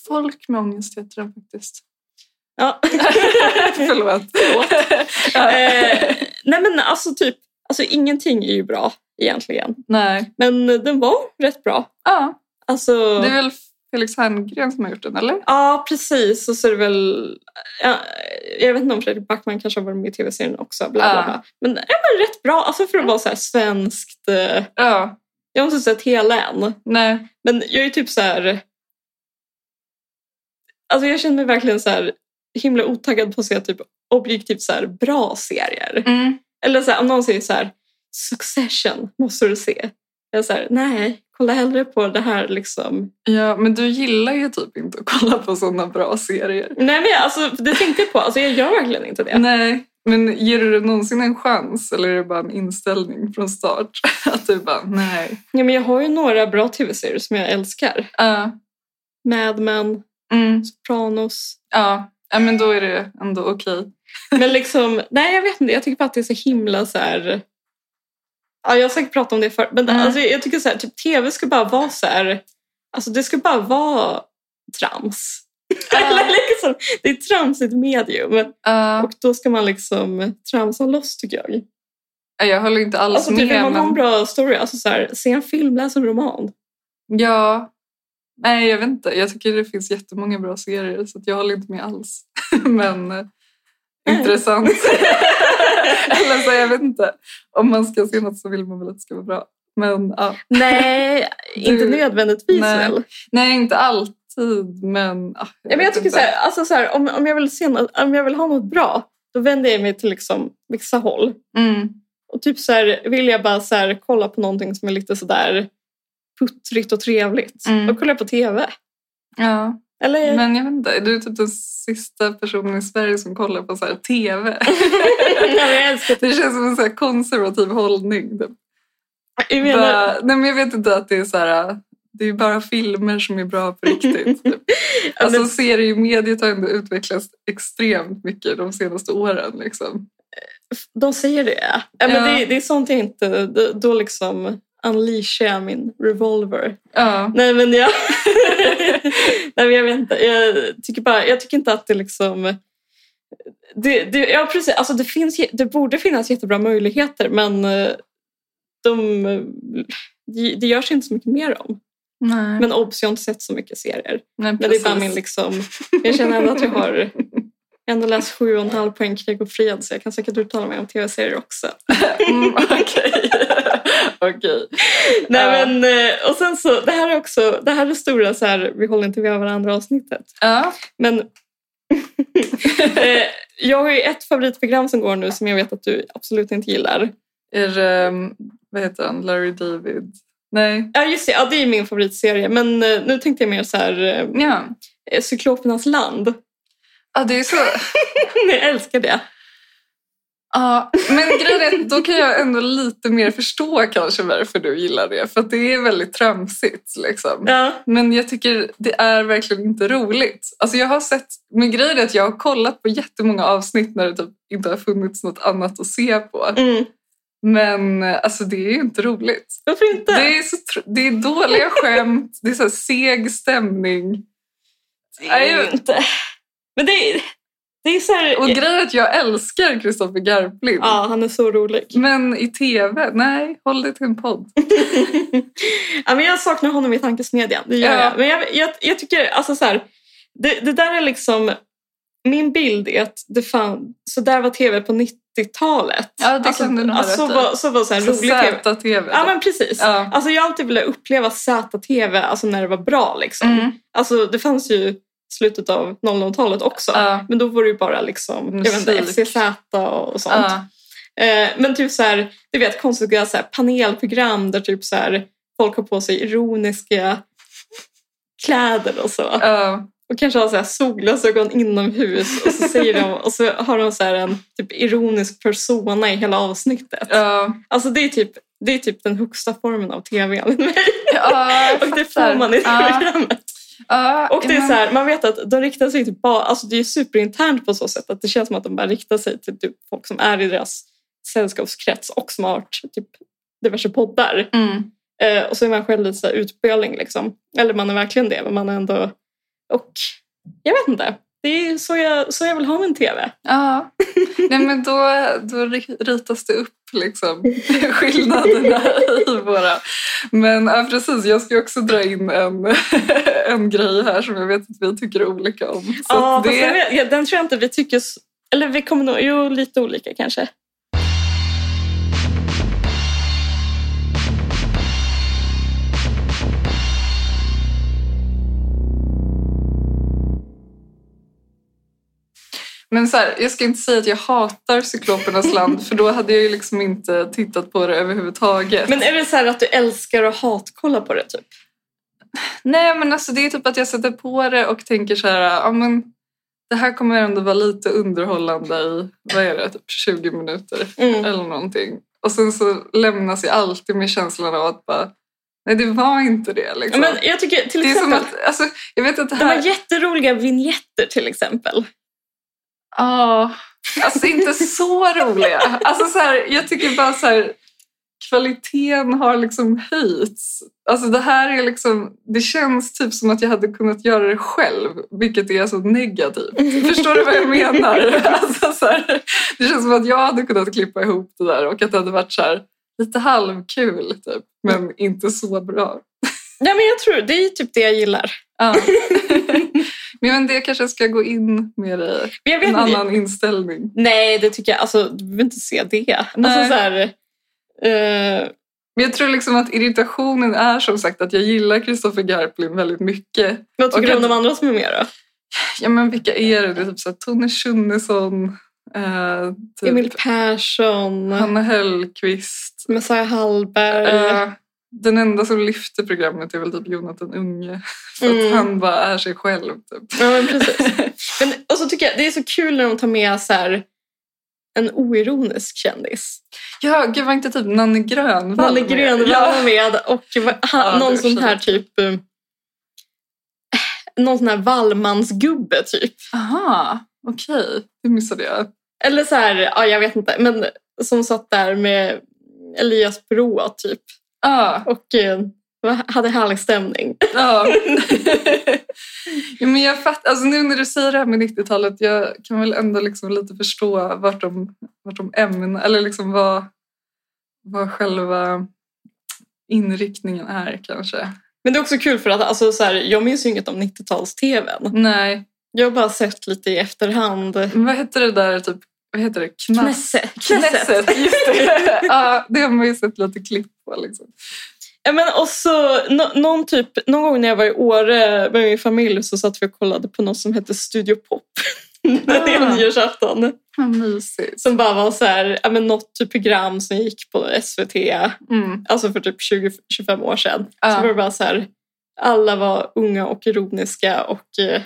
S2: Folk med ångest heter den faktiskt.
S3: Ja.
S2: Förlåt. Ja.
S3: eh, nej men alltså typ, alltså ingenting är ju bra egentligen.
S2: Nej.
S3: Men den var rätt bra.
S2: Ja,
S3: Alltså,
S2: det är väl Felix Herngren som har gjort den, eller?
S3: ja precis. Och så är det väl... Ja, jag vet inte om Fredrik Backman kanske har varit med i tv-serien också. Bla, bla,
S2: Ja.
S3: bla. Men, ja, men rätt bra, alltså för att vara så här svenskt. Eh,
S2: Ja.
S3: jag har inte sett hela än.
S2: Nej.
S3: Men jag är typ så här... Alltså jag känner mig verkligen så här himla otaggad på att se typ objektivt så här bra serier. Eller så här, om någon säger så här Succession måste du se. Jag är så här, nej, kolla hellre på det här liksom.
S2: Ja, men du gillar ju typ inte att kolla på sådana bra serier.
S3: Nej, men jag, alltså, det tänkte jag på. Alltså, jag gör verkligen inte det.
S2: Nej, men ger du det någonsin en chans eller är det bara en inställning från start? Att du bara, nej.
S3: Ja, men jag har ju några bra tv-serier som jag älskar.
S2: Ja,
S3: Mad Men,
S2: mm,
S3: Sopranos.
S2: ja. ja men då är det ändå okej.
S3: Men liksom, nej jag vet inte, jag tycker bara att det är så himla så här... Ja, jag har säkert pratat om det förr, men
S2: Mm.
S3: alltså, jag tycker så här, typ tv ska bara vara så här... Alltså det ska bara vara trams. Eller liksom, det är ett tramsigt medium
S2: Ja,
S3: och då ska man liksom tramsa loss tycker jag.
S2: jag håller inte alls
S3: Alltså typ, vill
S2: med.
S3: man har en
S2: men-
S3: bra story, alltså så här, se en film, läs en roman.
S2: Ja. Nej, jag vet inte. Jag tycker det finns jättemånga bra serier så att jag håller inte med alls. Men eh, intressant. Eller så, jag vet inte. Om man ska se något så vill man väl att det ska vara bra. Men ja.
S3: Nej, inte
S2: Du-
S3: nödvändigtvis
S2: Nej.
S3: väl.
S2: Nej, inte alltid, men... Ja,
S3: Ja, men jag
S2: vet
S3: tycker
S2: inte.
S3: så här, alltså så här, om, om, jag vill se något, om jag vill ha något bra, då vänder jag mig till liksom vissa håll.
S2: Mm.
S3: Och typ så här, vill jag bara så här, kolla på någonting som är lite sådär puttrigt och trevligt.
S2: Mm.
S3: Då kollar jag på TV.
S2: Ja,
S3: Eller?
S2: men jag vet inte. Du är typ den sista personen i Sverige som kollar på så här TV.
S3: Ja, men jag älskar
S2: Det känns som en så här konservativ hållning. Typ.
S3: jag menar,
S2: Bara, nej, men jag vet inte att det är så här... äh, Det är bara filmer som är bra på riktigt. Typ. Alltså,
S3: men-
S2: seriemediet har ändå utvecklats extremt mycket de senaste åren. Liksom.
S3: De säger det. Ja, men
S2: Ja.
S3: det. Det är sånt jag inte... Då, då liksom unleashar jag min revolver.
S2: Ja.
S3: Nej men jag... Nej men jag vet inte. Jag tycker, bara, jag tycker inte att det liksom... Det, det, ja precis, alltså det, finns, det borde finnas jättebra möjligheter men eh, de, det- det görs inte så mycket mer om.
S2: Nej,
S3: Men obs, jag har inte sett så mycket serier.
S2: nej,
S3: Men det är bara
S2: precis.
S3: min liksom... Jag känner ändå att jag har... Jag har ändå läst sju och en halv poäng krig och fred så jag kan säkert uttala mig om tv-serier också.
S2: Mm, Okej. Okej.
S3: Nej,
S2: Ja.
S3: men, eh, och sen så, det här är också, det här är stora så här, vi håller inte med varandra avsnittet.
S2: Ja.
S3: Men eh, jag har ju ett favoritprogram som går nu som jag vet att du absolut inte gillar.
S2: Är det, um, vad heter han, Larry David? Nej.
S3: Ja just det, ja, det är min favoritserie. Men eh, nu tänkte jag mer så här, eh,
S2: Ja.
S3: Cyklopernas land.
S2: Ja, det är så...
S3: jag älskar det.
S2: Ja, men grejen är att då kan jag ändå lite mer förstå kanske varför du gillar det. För att det är väldigt tramsigt liksom.
S3: Ja.
S2: Men jag tycker det är verkligen inte roligt. Alltså jag har sett, men grejen är att jag har kollat på jättemånga avsnitt när det typ inte har funnits något annat att se på.
S3: Mm.
S2: Men eh, alltså det är ju inte roligt.
S3: Varför inte?
S2: Det är, så tr- det är dåliga skämt, det är så här seg stämning.
S3: Det är ju inte. Men det är, det är så här,
S2: Och grejen är att jag älskar Kristoffer Garplind.
S3: ja han är så rolig.
S2: Men i tv, nej, håll dig till en podd.
S3: ja, men jag saknar honom i tankesmedjan. Det gör
S2: Ja.
S3: jag. Men jag, jag, jag tycker, alltså så här, det, det där är liksom, min bild är att det fan, så där var tv på 90-talet.
S2: Ja, det
S3: alltså,
S2: kan du nog ha
S3: alltså, så,
S2: rätt i.
S3: var, så var så här
S2: Så
S3: rolig tv.
S2: Z-tv.
S3: Ja men precis.
S2: Ja.
S3: Alltså jag har alltid velat uppleva Z-tv alltså när det var bra liksom.
S2: Mm.
S3: Alltså det fanns ju slutet av 00-talet också.
S2: Ja.
S3: Men då var det ju bara liksom, jag vet inte,
S2: Musik.
S3: FCZ och, och sånt.
S2: Ja.
S3: Eh, men typ så här, du vet konstiga så här, panelprogram där typ så här, folk har på sig ironiska kläder och så.
S2: Ja.
S3: Och kanske har så här solglasögon inomhus och så, säger de, och så har de så här en typ ironisk persona i hela avsnittet.
S2: Ja.
S3: Alltså det är, typ, det är typ den högsta formen av tv enligt mig.
S2: Ja, jag
S3: Och det
S2: fattar.
S3: får man i det
S2: Ja.
S3: programmet.
S2: Ja,
S3: Och det är
S2: men-
S3: så här, man vet att de riktar sig till bara, alltså det är superinternt på så sätt att det känns som att de bara riktar sig till typ folk som är i deras sällskapskrets och som har varit typ diverse poddar.
S2: Mm.
S3: Eh, och så är man själv lite så här utböling liksom. Eller man är verkligen det, men man är ändå... Och jag vet inte. Det är så jag, så jag vill ha min TV.
S2: Ja. Nej, men då, då ritas det upp liksom, skillnaderna i våra. Men ja, precis, jag ska ju också dra in en, en grej här som jag vet att vi tycker olika om. Så
S3: Ja,
S2: att
S3: fast jag
S2: det,
S3: vet- ja, den tror jag inte vi tycker... s- Eller vi kommer nog... Jo, lite olika kanske.
S2: Men så här, jag ska inte säga att jag hatar Cyklopernas land för då hade jag ju liksom inte tittat på det överhuvudtaget.
S3: Men är det så här att du älskar att hatkolla på det typ?
S2: Nej men alltså det är typ att jag sätter på det och tänker så här, ja men det här kommer ändå vara lite underhållande i, vad är det, typ 20 minuter
S3: Mm.
S2: eller någonting. Och sen så lämnas jag alltid med känslan av att bara, nej det var inte det liksom.
S3: Men jag tycker till
S2: det är som
S3: exempel,
S2: att, alltså jag vet att det
S3: de
S2: här...
S3: har jätteroliga vignetter till exempel.
S2: Ja, alltså inte så roliga. Alltså så här, jag tycker bara så här, kvaliteten har liksom höjts. Alltså det här är liksom, det känns typ som att jag hade kunnat göra det själv, vilket är så negativt. Förstår du vad jag menar? Alltså så här, det känns som att jag hade kunnat klippa ihop det där och att det hade varit så här, lite halvkul typ, men inte så bra.
S3: Ja, men jag tror det är ju typ det jag gillar.
S2: Ja. Men jag vet inte, jag kanske ska gå in med dig,
S3: Men jag vet
S2: en
S3: inte-
S2: annan inställning.
S3: Nej, det tycker jag. Alltså, du behöver inte se det. Alltså,
S2: Nej.
S3: så här, eh,
S2: Men jag tror liksom att irritationen är som sagt att jag gillar Christopher Garplin väldigt mycket.
S3: vad tycker
S2: Okej.
S3: du om de andra som är med då?
S2: Ja men vilka är det? Det är typ så här, Tone Schunnesson, eh, typ
S3: Emil Persson,
S2: Hanna Hellquist.
S3: Messiah Hallberg.
S2: Eh, den enda som lyfter programmet är väl typ Jonathan Unge. För att
S3: Mm.
S2: han bara är sig själv typ.
S3: Ja, men precis. Men, och så tycker jag det är så kul när de tar med så här, en oironisk kändis.
S2: Ja, gud var inte typ Nanne Grönvall
S3: Nalle
S2: med?
S3: Grönvall
S2: Ja.
S3: var med och va- han,
S2: Ja, det
S3: någon
S2: var
S3: sån
S2: så
S3: här typ... eh, Någon sån här Wallmansgubbe typ.
S2: Aha, okej. Det missade jag.
S3: Eller så här, ja, jag vet inte, men som satt där med Elias Broa typ.
S2: Ah,
S3: Och eh, va- hade härlig stämning.
S2: ja. Ja, men jag fattar, alltså nu när du säger det här med 90-talet, jag kan väl ändå liksom lite förstå vart de, vart de ämnar, eller liksom vad, vad själva inriktningen är kanske.
S3: Men det är också kul för att alltså, så här, jag minns ju inget om 90-tals-tvn.
S2: Nej,
S3: Jag har bara sett lite i efterhand.
S2: men vad heter det där typ, vad heter det? Knas-
S3: Knesset.
S2: just det. ja, det har man ju sett lite klipp på liksom.
S3: Ja, men och så, nå- någon, typ, någon gång när jag var i Åre med min familj så satt vi och kollade på något som hette Studio Pop. När det var
S2: Ah.
S3: nyårsafton.
S2: Vad mysigt.
S3: Som bara var så här, ja, men något typ program som gick på SVT
S2: Mm.
S3: alltså för typ 20-25 år sedan.
S2: Ja.
S3: Så var det bara så här, alla var unga och ironiska och eh,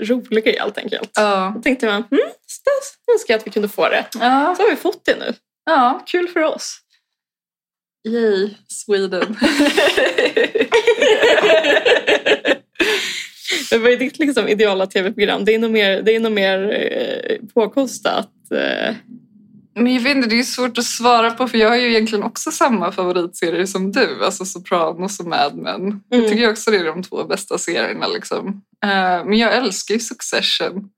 S3: roliga helt enkelt.
S2: Ja.
S3: Då tänkte man, mm, stas, önskar jag att vi kunde få det.
S2: Ja.
S3: Så har vi fått det nu.
S2: ja.
S3: Kul för oss.
S2: Yay, Sweden.
S3: Men vad är ditt liksom ideala tv-program? Det är nog mer, det är nog mer eh, påkostat. Eh,
S2: Men jag vet inte, det är ju svårt att svara på för jag har ju egentligen också samma favoritserie som du, alltså Sopranos och Mad Men.
S3: Mm.
S2: Jag tycker också det är de två bästa serierna liksom. Eh, men jag älskar ju Succession.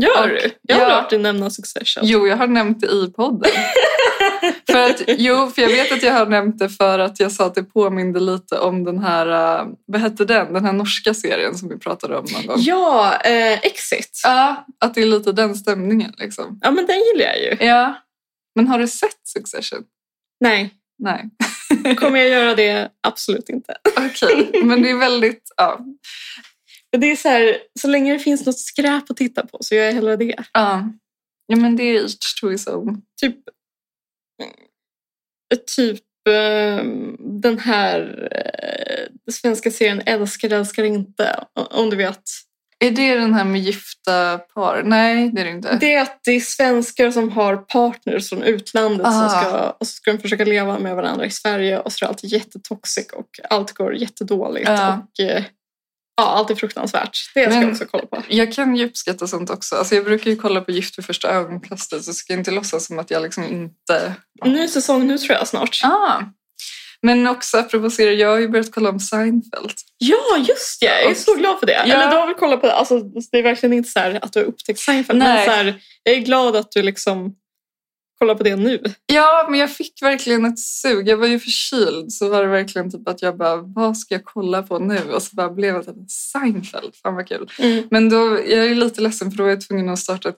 S3: Gör
S2: Och-
S3: du? Jag har
S2: ja.
S3: hört dig nämna Succession.
S2: Jo, jag har nämnt det i podden. för att, jo, för jag vet att jag har nämnt det för att jag sa att det påminde lite om den här, eh, vad hette den, den här norska serien som vi pratade om någon gång.
S3: Ja, eh, Exit.
S2: Ja, att det är lite den stämningen liksom.
S3: Ja, men den gillar jag ju.
S2: Ja. Men har du sett Succession?
S3: Nej,
S2: Nej.
S3: kommer jag göra det? Absolut inte.
S2: Okej, men det är väldigt... Ja.
S3: Men Det är så här, så länge det finns något skräp att titta på så gör jag hellre det.
S2: ja. ja men det är each to his own.
S3: Typ, typ eh, den här eh, svenska serien Älskar, älskar inte. Om du vet.
S2: Är det den här med gifta par? Nej, det är det inte.
S3: Det är att det är svenskar som har partners från utlandet
S2: Ah.
S3: som ska, och så ska de försöka leva med varandra i Sverige och så är allt jättetoxic och allt går jättedåligt.
S2: Ja.
S3: Och, eh, ja, allt är fruktansvärt. Det ska
S2: Ah. Men-
S3: jag också kolla på.
S2: Jag kan ju uppskatta sånt också. Alltså jag brukar ju kolla på Gift vid första ögonkastet så ska jag inte låtsas som att jag liksom inte...
S3: Ny säsong nu tror jag snart.
S2: Ah. Men också apropå serier, jag har ju börjat kolla om Seinfeld.
S3: Ja, just det. Jag är så glad för det.
S2: Alltså, Ja.
S3: Eller du har väl kollat på det. Alltså, det är verkligen inte så här att du har upptäckt Seinfeld. Men
S2: Nej.
S3: så här, jag är glad att du liksom kollar på det nu.
S2: Ja, men jag fick verkligen ett sug. Jag var ju förkyld så var det verkligen typ att jag bara, vad ska jag kolla på nu? Och så bara blev det Mm, typ Seinfeld, fan vad kul. Men då, jag är lite ledsen för då var jag tvungen att starta ett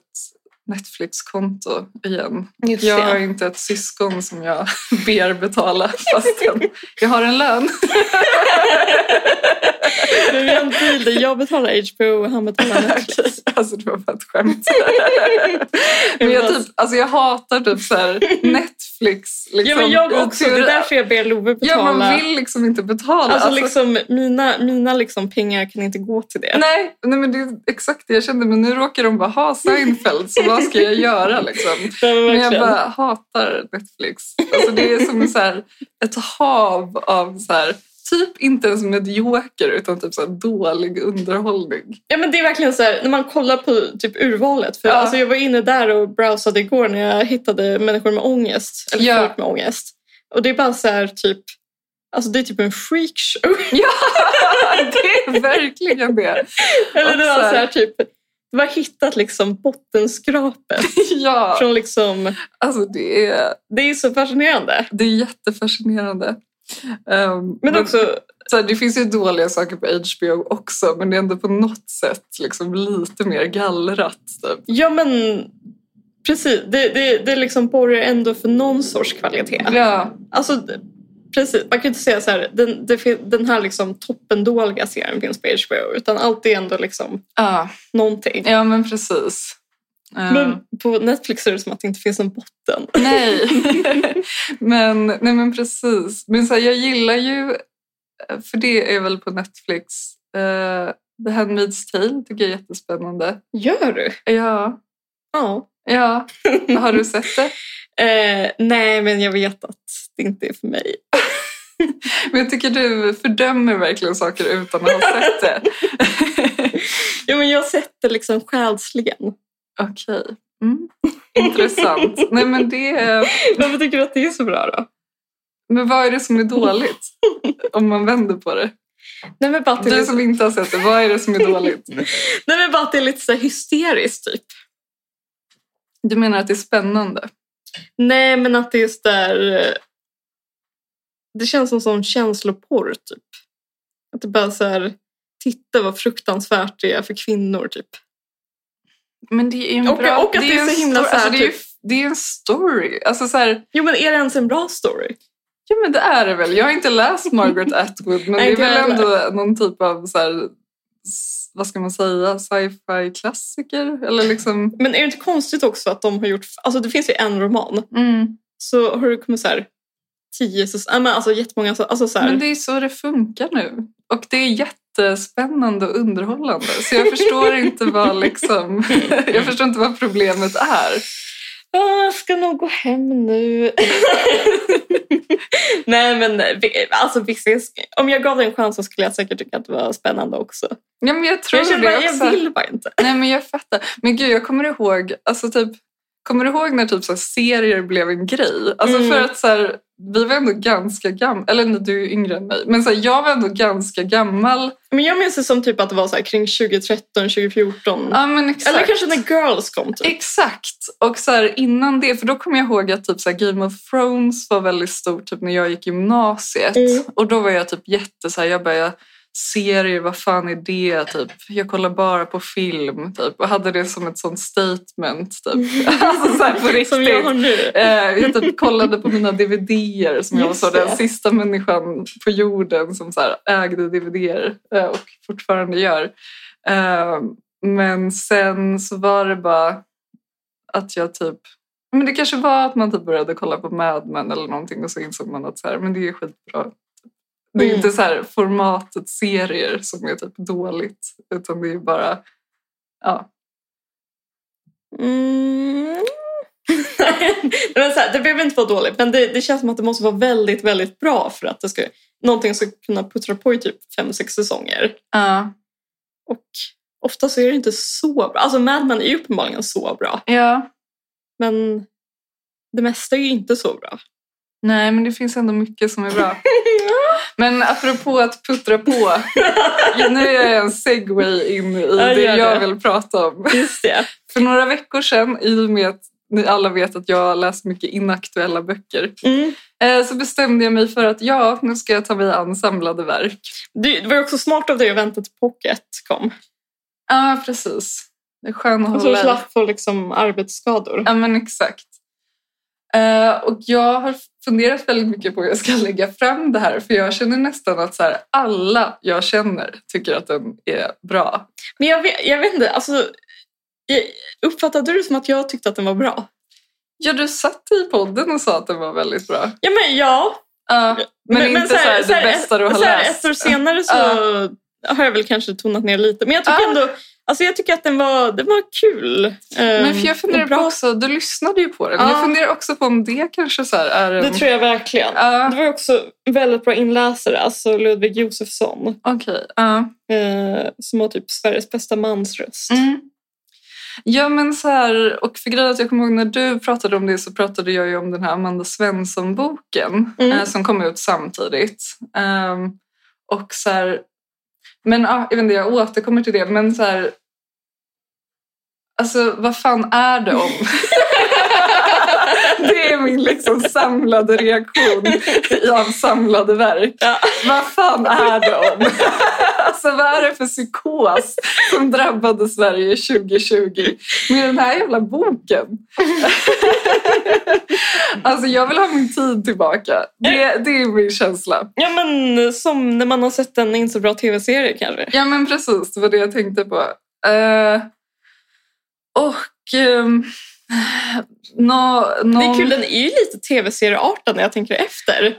S2: Netflix-konto igen.
S3: Just
S2: Jag har
S3: det.
S2: inte ett syskon som jag ber betala fastän jag har en lön.
S3: Men vi har en deal där jag betalar HBO och han betalar Netflix.
S2: alltså det var bara ett skämt. Men jag, typ, alltså jag hatar typ så här Netflix. Liksom,
S3: ja, men jag
S2: i
S3: också. Det är
S2: teorin.
S3: därför jag ber Love betala.
S2: Ja, man vill liksom inte betala.
S3: Alltså,
S2: Alltså,
S3: liksom, mina mina liksom, pengar kan inte gå till det.
S2: Nej, nej, men det är exakt det jag kände. Men nu råkar de bara ha Seinfeld, så vad ska jag göra? Liksom?
S3: Ja, men
S2: Men jag
S3: verkligen.
S2: bara hatar Netflix. Alltså, det är som så här, ett hav av så här, typ inte ens medioker utan typ så här, dålig underhållning.
S3: Ja, men det är verkligen så här, när man kollar på typ urvalet. För
S2: Ja.
S3: alltså, jag var inne där och browsade igår när jag hittade människor med ångest. Eller
S2: Ja.
S3: folk med ångest. Och det är bara så här typ, alltså det är typ en freakshow.
S2: det är verkligen det.
S3: eller det var
S2: så här-
S3: så här typ, du har hittat liksom bottenskrapet.
S2: Ja,
S3: från liksom,
S2: alltså det är,
S3: det är så fascinerande.
S2: det är jättefascinerande. Ehm,
S3: Men också,
S2: så här, det finns ju dåliga saker på HBO också men det är ändå på något sätt liksom lite mer gallrat. Typ.
S3: ja men precis, det, det, det liksom borgar ändå för någon sorts kvalitet.
S2: Ja,
S3: Alltså, d- precis. Man kan inte säga så här, den, det, fin- den här liksom toppendåliga serien finns på HBO, utan allt är ändå liksom
S2: ja,
S3: någonting.
S2: ja men precis. Ehm,
S3: Men på Netflix är det som att det inte finns en botten.
S2: Nej. men, nej, men precis. Men så här, jag gillar ju, för det är väl på Netflix, uh, The Handmaid's Tale tycker jag är jättespännande.
S3: Gör du?
S2: Ja,
S3: Ja.
S2: ja. har du sett det?
S3: Eh, nej, men jag vet att det inte är för mig.
S2: Men jag tycker du fördömer verkligen saker utan att ha sett det.
S3: Ja, men jag sätter liksom själsligen.
S2: Okej. Mm. Intressant. Nej, men, det, är-
S3: Varför tycker du att det är så bra då?
S2: men vad är det som är dåligt? Om man vänder på det.
S3: Nej, men bara att det är,
S2: Du
S3: lite,
S2: som inte har sett det, vad är det som är dåligt?
S3: nej, men bara att det är lite så här hysteriskt typ.
S2: Du menar att det är spännande?
S3: Nej, men att det är just där... eh, Det känns som sån känsloporr, typ. Att det bara så här... Titta vad fruktansvärt det är för kvinnor, typ.
S2: Men det är ju en
S3: Och-
S2: bra...
S3: och att det är
S2: en
S3: så himla
S2: stor-
S3: så här,
S2: alltså, det, är ju,
S3: typ-
S2: det är en story. Alltså så här,
S3: Jo, men är det ens en bra story?
S2: ja men det är det väl. Jag har inte läst Margaret Atwood men
S3: Nej,
S2: det är
S3: inte
S2: väl
S3: jag
S2: ändå någon typ av så här, s- vad ska man säga, sci-fi klassiker? Eller liksom...
S3: Men är det inte konstigt också att de har gjort... Alltså, det finns ju en roman. Så har det kommit så här... Tio säsonger... Äh, men alltså jättemånga... så- Alltså, så här,
S2: Men det är så det funkar nu. Och det är jättespännande och underhållande. Så jag förstår inte vad liksom... jag förstår inte vad problemet är.
S3: "Ah, Jag ska nog gå hem nu. Nej, men vi- alltså, vissa, om jag gav det en chans så skulle jag säkert tycka att det var spännande också.
S2: Ja, men jag tror
S3: Jag känner
S2: det
S3: bara,
S2: också.
S3: jag vill bara inte.
S2: Nej men jag fattar. Men gud jag kommer ihåg, alltså typ, kommer du ihåg när typ så här serier blev en grej? Alltså
S3: Mm.
S2: för att så här, vi var ändå ganska gamla, eller nej, du är ju yngre än mig, men så här, jag var ändå ganska gammal.
S3: Men jag minns det som typ att det var så här kring 2013, 2014.
S2: Ja men exakt.
S3: Eller kanske när Girls kom typ.
S2: Exakt! Och så här, innan det, för då kommer jag ihåg att typ så här, Game of Thrones var väldigt stort typ, när jag gick gymnasiet.
S3: Mm.
S2: Och då var jag typ jätte så här, jag bara, jag, serier, vad fan är det? Typ. Jag kollar bara på film typ. och hade det som ett sånt statement. Typ. alltså så här, på riktigt.
S3: Som jag har nu.
S2: Eh, jag typ kollade på mina dvd som jag var
S3: Just
S2: så den
S3: det.
S2: sista människan på jorden som så här ägde dvd eh, och fortfarande gör. Eh, men sen så var det bara att jag typ... Men det kanske var att man typ började kolla på Mad Men eller någonting och så insåg man att så här, men det är skitbra. Det är
S3: Mm.
S2: inte så här formatet serier som är typ dåligt utan det är bara... Ja.
S3: Mm. Nej, men så här, det behöver inte vara dåligt men det, det känns som att det måste vara väldigt, väldigt bra för att det ska, någonting ska kunna puttra på i typ fem sex säsonger. Och ofta så är det inte så bra. Alltså Mad Men är ju uppenbarligen så bra
S2: ja.
S3: men det mesta är ju inte så bra.
S2: Nej, men det finns ändå mycket som är bra. Men apropå att puttra på. Nu är jag en segway in i
S3: Ja,
S2: det
S3: gör
S2: jag
S3: det.
S2: vill prata om.
S3: Just det.
S2: För några veckor sedan, i och med att ni alla vet att jag har läst mycket inaktuella böcker,
S3: Mm.
S2: eh, så bestämde jag mig för att ja, nu ska jag ta mig an samlade verk.
S3: Det, det var ju också smart av dig att vänta till Pocket kom.
S2: Ja, precis. Det är skön att
S3: Och så
S2: hålla i.
S3: Alltså, slapp få liksom arbetsskador.
S2: Ja, men exakt. Eh, och jag har funderat väldigt mycket på hur jag ska lägga fram det här. För jag känner nästan att så här, alla jag känner tycker att den är bra.
S3: Men jag vet, jag vet inte, alltså, jag- uppfattade du det som att jag tyckte att den var bra?
S2: Ja, du satt i podden och sa att den var väldigt bra.
S3: Ja, men ja.
S2: Ja, men, inte så här, det bästa du har
S3: så här,
S2: läst.
S3: Ett år senare så har jag väl kanske tonat ner lite. Men jag tycker
S2: Ja.
S3: ändå, alltså jag tycker att den var, den var kul. Ehm,
S2: Men för jag funderar
S3: och bra.
S2: på också, du lyssnade ju på den.
S3: Ja.
S2: Jag funderar också på om det kanske så här är en...
S3: Det tror jag verkligen.
S2: Ja,
S3: Det var ju också väldigt bra inläsare, alltså Ludvig Josefsson.
S2: okej. ja.
S3: eh, som har typ Sveriges bästa mansröst.
S2: Mm. Ja men så här, och för grejen att jag kommer ihåg när du pratade om det så pratade jag ju om den här Amanda Svensson-boken
S3: Mm.
S2: eh, som kom ut samtidigt. Ehm, och så här, men ja, jag vet inte, jag återkommer till det, men så här, alltså vad fan är det om? det är min liksom samlade reaktion i hans samlade verk.
S3: Ja.
S2: Vad fan är det om? Alltså vad är det för psykos som drabbade Sverige 2020 med den här jävla boken? Alltså jag vill ha min tid tillbaka. Det, det är min känsla.
S3: Ja men som när man har sett en inte så bra tv-serie kanske.
S2: Ja men precis, det var det jag tänkte på. Eh, och... Um, no, no,
S3: Det är kul, den är ju lite tv-serieartad när jag tänker efter.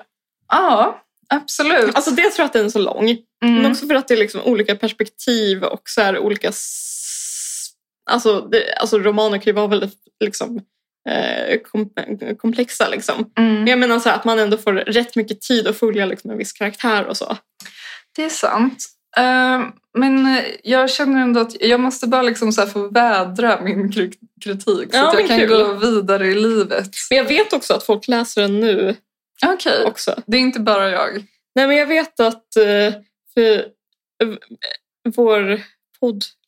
S2: Ja, absolut.
S3: Alltså dels för att den är så lång, men
S2: Mm.
S3: också för att det är liksom olika perspektiv och så här olika... s- Alltså, det, alltså romaner var väldigt liksom, eh, kom, komplexa liksom.
S2: Mm.
S3: Men jag menar så här, att man ändå får rätt mycket tid att följa liksom, en viss karaktär och så.
S2: Det är sant. Eh, men eh, jag känner ändå att jag måste bara liksom så här få vädra min kri- kritik så
S3: Ja,
S2: att
S3: men
S2: jag kan
S3: kul.
S2: gå vidare i livet.
S3: Men jag vet också att folk läser den nu
S2: Okej,
S3: också.
S2: det är inte bara jag.
S3: Nej, men jag vet att eh, för, eh, vår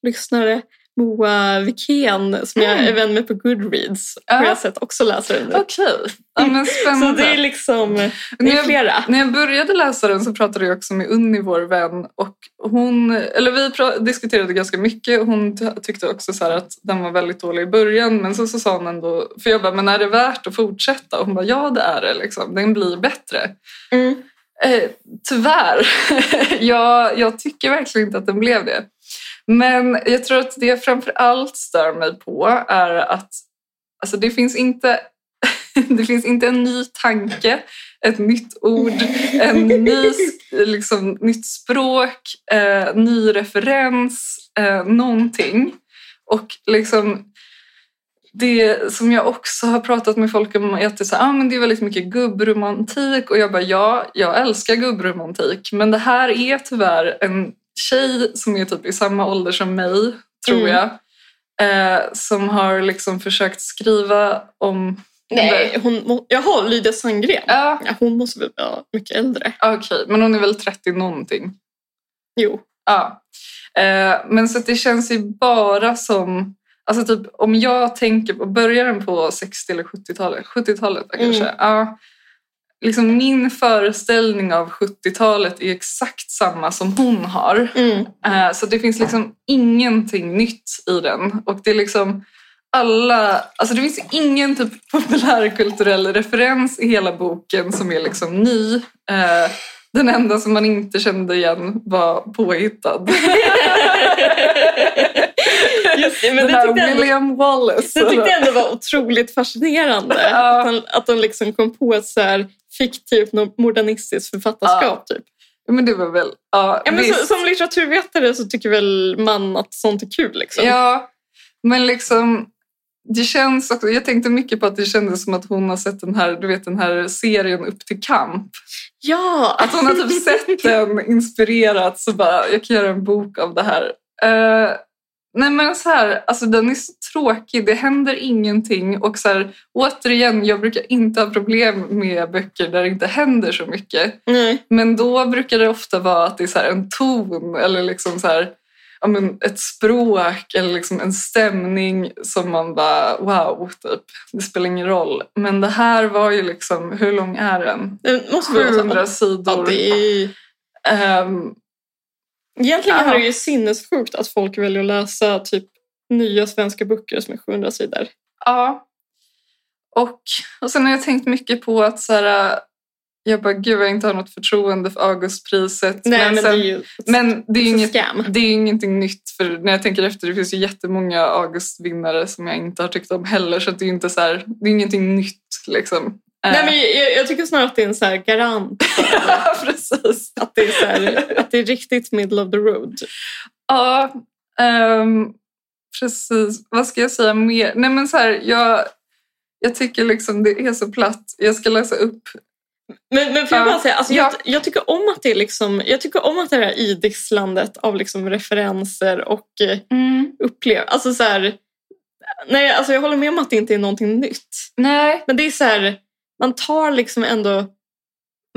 S3: poddlyssnare Moa Wikén, som jag
S2: Mm.
S3: är vän med på Goodreads, har
S2: Ja.
S3: jag sett också läser den nu.
S2: Okej, ja, men spännande.
S3: Så det är liksom det
S2: När
S3: är
S2: jag-
S3: flera.
S2: När jag började läsa den så pratade jag också med Unni, vår vän. Och hon, eller vi pra- diskuterade ganska mycket. Hon ty- tyckte också så här att den var väldigt dålig i början. Men så, så sa hon ändå... För jag bara, men är det värt att fortsätta? Och hon bara, ja det är det. Liksom. Den blir bättre.
S3: Mm.
S2: Eh, tyvärr. jag, jag tycker verkligen inte att den blev det. Men jag tror att det jag framför allt stör mig på är att alltså det, finns inte, det finns inte en ny tanke, ett nytt ord, en ny, s- liksom, nytt språk, eh, ny referens, eh, någonting. Och liksom, det som jag också har pratat med folk om är att det är, så här, ah, men det är väldigt mycket gubbromantik och jag bara ja, jag älskar gubbromantik men det här är tyvärr en tjej som är typ i samma ålder som mig, tror
S3: Mm.
S2: jag, eh, som har liksom försökt skriva om...
S3: Nej, hon, må- jaha, Lydia Sandgren.
S2: Ja,
S3: Ja, hon måste väl vara mycket äldre.
S2: okej, men hon är väl 30 någonting.
S3: Jo.
S2: Ja. Eh, men så att det känns ju bara som... Alltså typ om jag tänker på början på 60 eller 70-talet, 70-talet då kanske.
S3: Mm.
S2: Ja. Liksom min föreställning av 70-talet är exakt samma som hon har.
S3: Mm.
S2: Eh, Så det finns liksom ingenting nytt i den. Och det är liksom alla, alltså det finns ingen typ populärkulturell referens i hela boken som är liksom ny. Eh, Den enda som man inte kände igen var påhittad.
S3: Just det, men
S2: Den
S3: det
S2: här
S3: tyckte jag ändå-
S2: William Wallace.
S3: det tyckte jag ändå var otroligt fascinerande.
S2: Ja.
S3: Att han, att han liksom kom på ett så här fiktivt no- modernistiskt författarskap. Typ.
S2: Men det var väl, ja,
S3: Ja, men så,
S2: visst.
S3: som litteraturvetare så tycker väl man att sånt är kul. Liksom.
S2: Ja, men liksom... Det känns också, jag tänkte mycket på att det kändes som att hon har sett den här, du vet, den här serien Upp till kamp.
S3: ja.
S2: Att hon har typ sett den, inspirerats och bara, jag kan göra en bok av det här. Eh, nej men så här, alltså den är så tråkig, det händer ingenting. Och så här, återigen, jag brukar inte ha problem med böcker där det inte händer så mycket.
S3: Nej.
S2: Men då brukar det ofta vara att det är så här en ton eller liksom så här, ja men ett språk eller liksom en stämning som man bara wow, typ. det spelar ingen roll. Men det här var ju liksom, hur lång är den?
S3: Det måste vara så-
S2: 700
S3: Ja,
S2: sidor.
S3: det är...
S2: Ehm,
S3: Egentligen
S2: Ja.
S3: är det ju sinnessjukt att folk väljer att läsa typ nya svenska böcker som är 700 sidor.
S2: Ja. Och, och sen har jag tänkt mycket på att så här, äh, jag bara, gud jag inte har något förtroende för Augustpriset.
S3: Nej, men,
S2: sen,
S3: det är ju Alltså,
S2: men det är ju
S3: så
S2: inget
S3: skam.
S2: Det är ju ingenting nytt, för när jag tänker efter, det finns ju jättemånga Augustvinnare som jag inte har tyckt om heller, så att det är ju inte så här, det är ingenting nytt liksom. Eh,
S3: Nej, men jag, jag tycker snarare att det är en så här garant.
S2: ja, precis.
S3: Att det är, så här, att det är riktigt middle of the road.
S2: Ja, ehm, precis. Vad ska jag säga mer? Nej, men så här, jag, jag tycker liksom det är så platt. Jag ska läsa upp.
S3: Men, men får jag
S2: Ja.
S3: bara säga, alltså, jag,
S2: Ja.
S3: jag tycker om att det är liksom, jag tycker om att det här idisslandet av liksom referenser och eh,
S2: Mm.
S3: upplev... Alltså så här, nej, alltså jag håller med om att det inte är någonting nytt.
S2: Nej.
S3: Men det är så här, man tar liksom ändå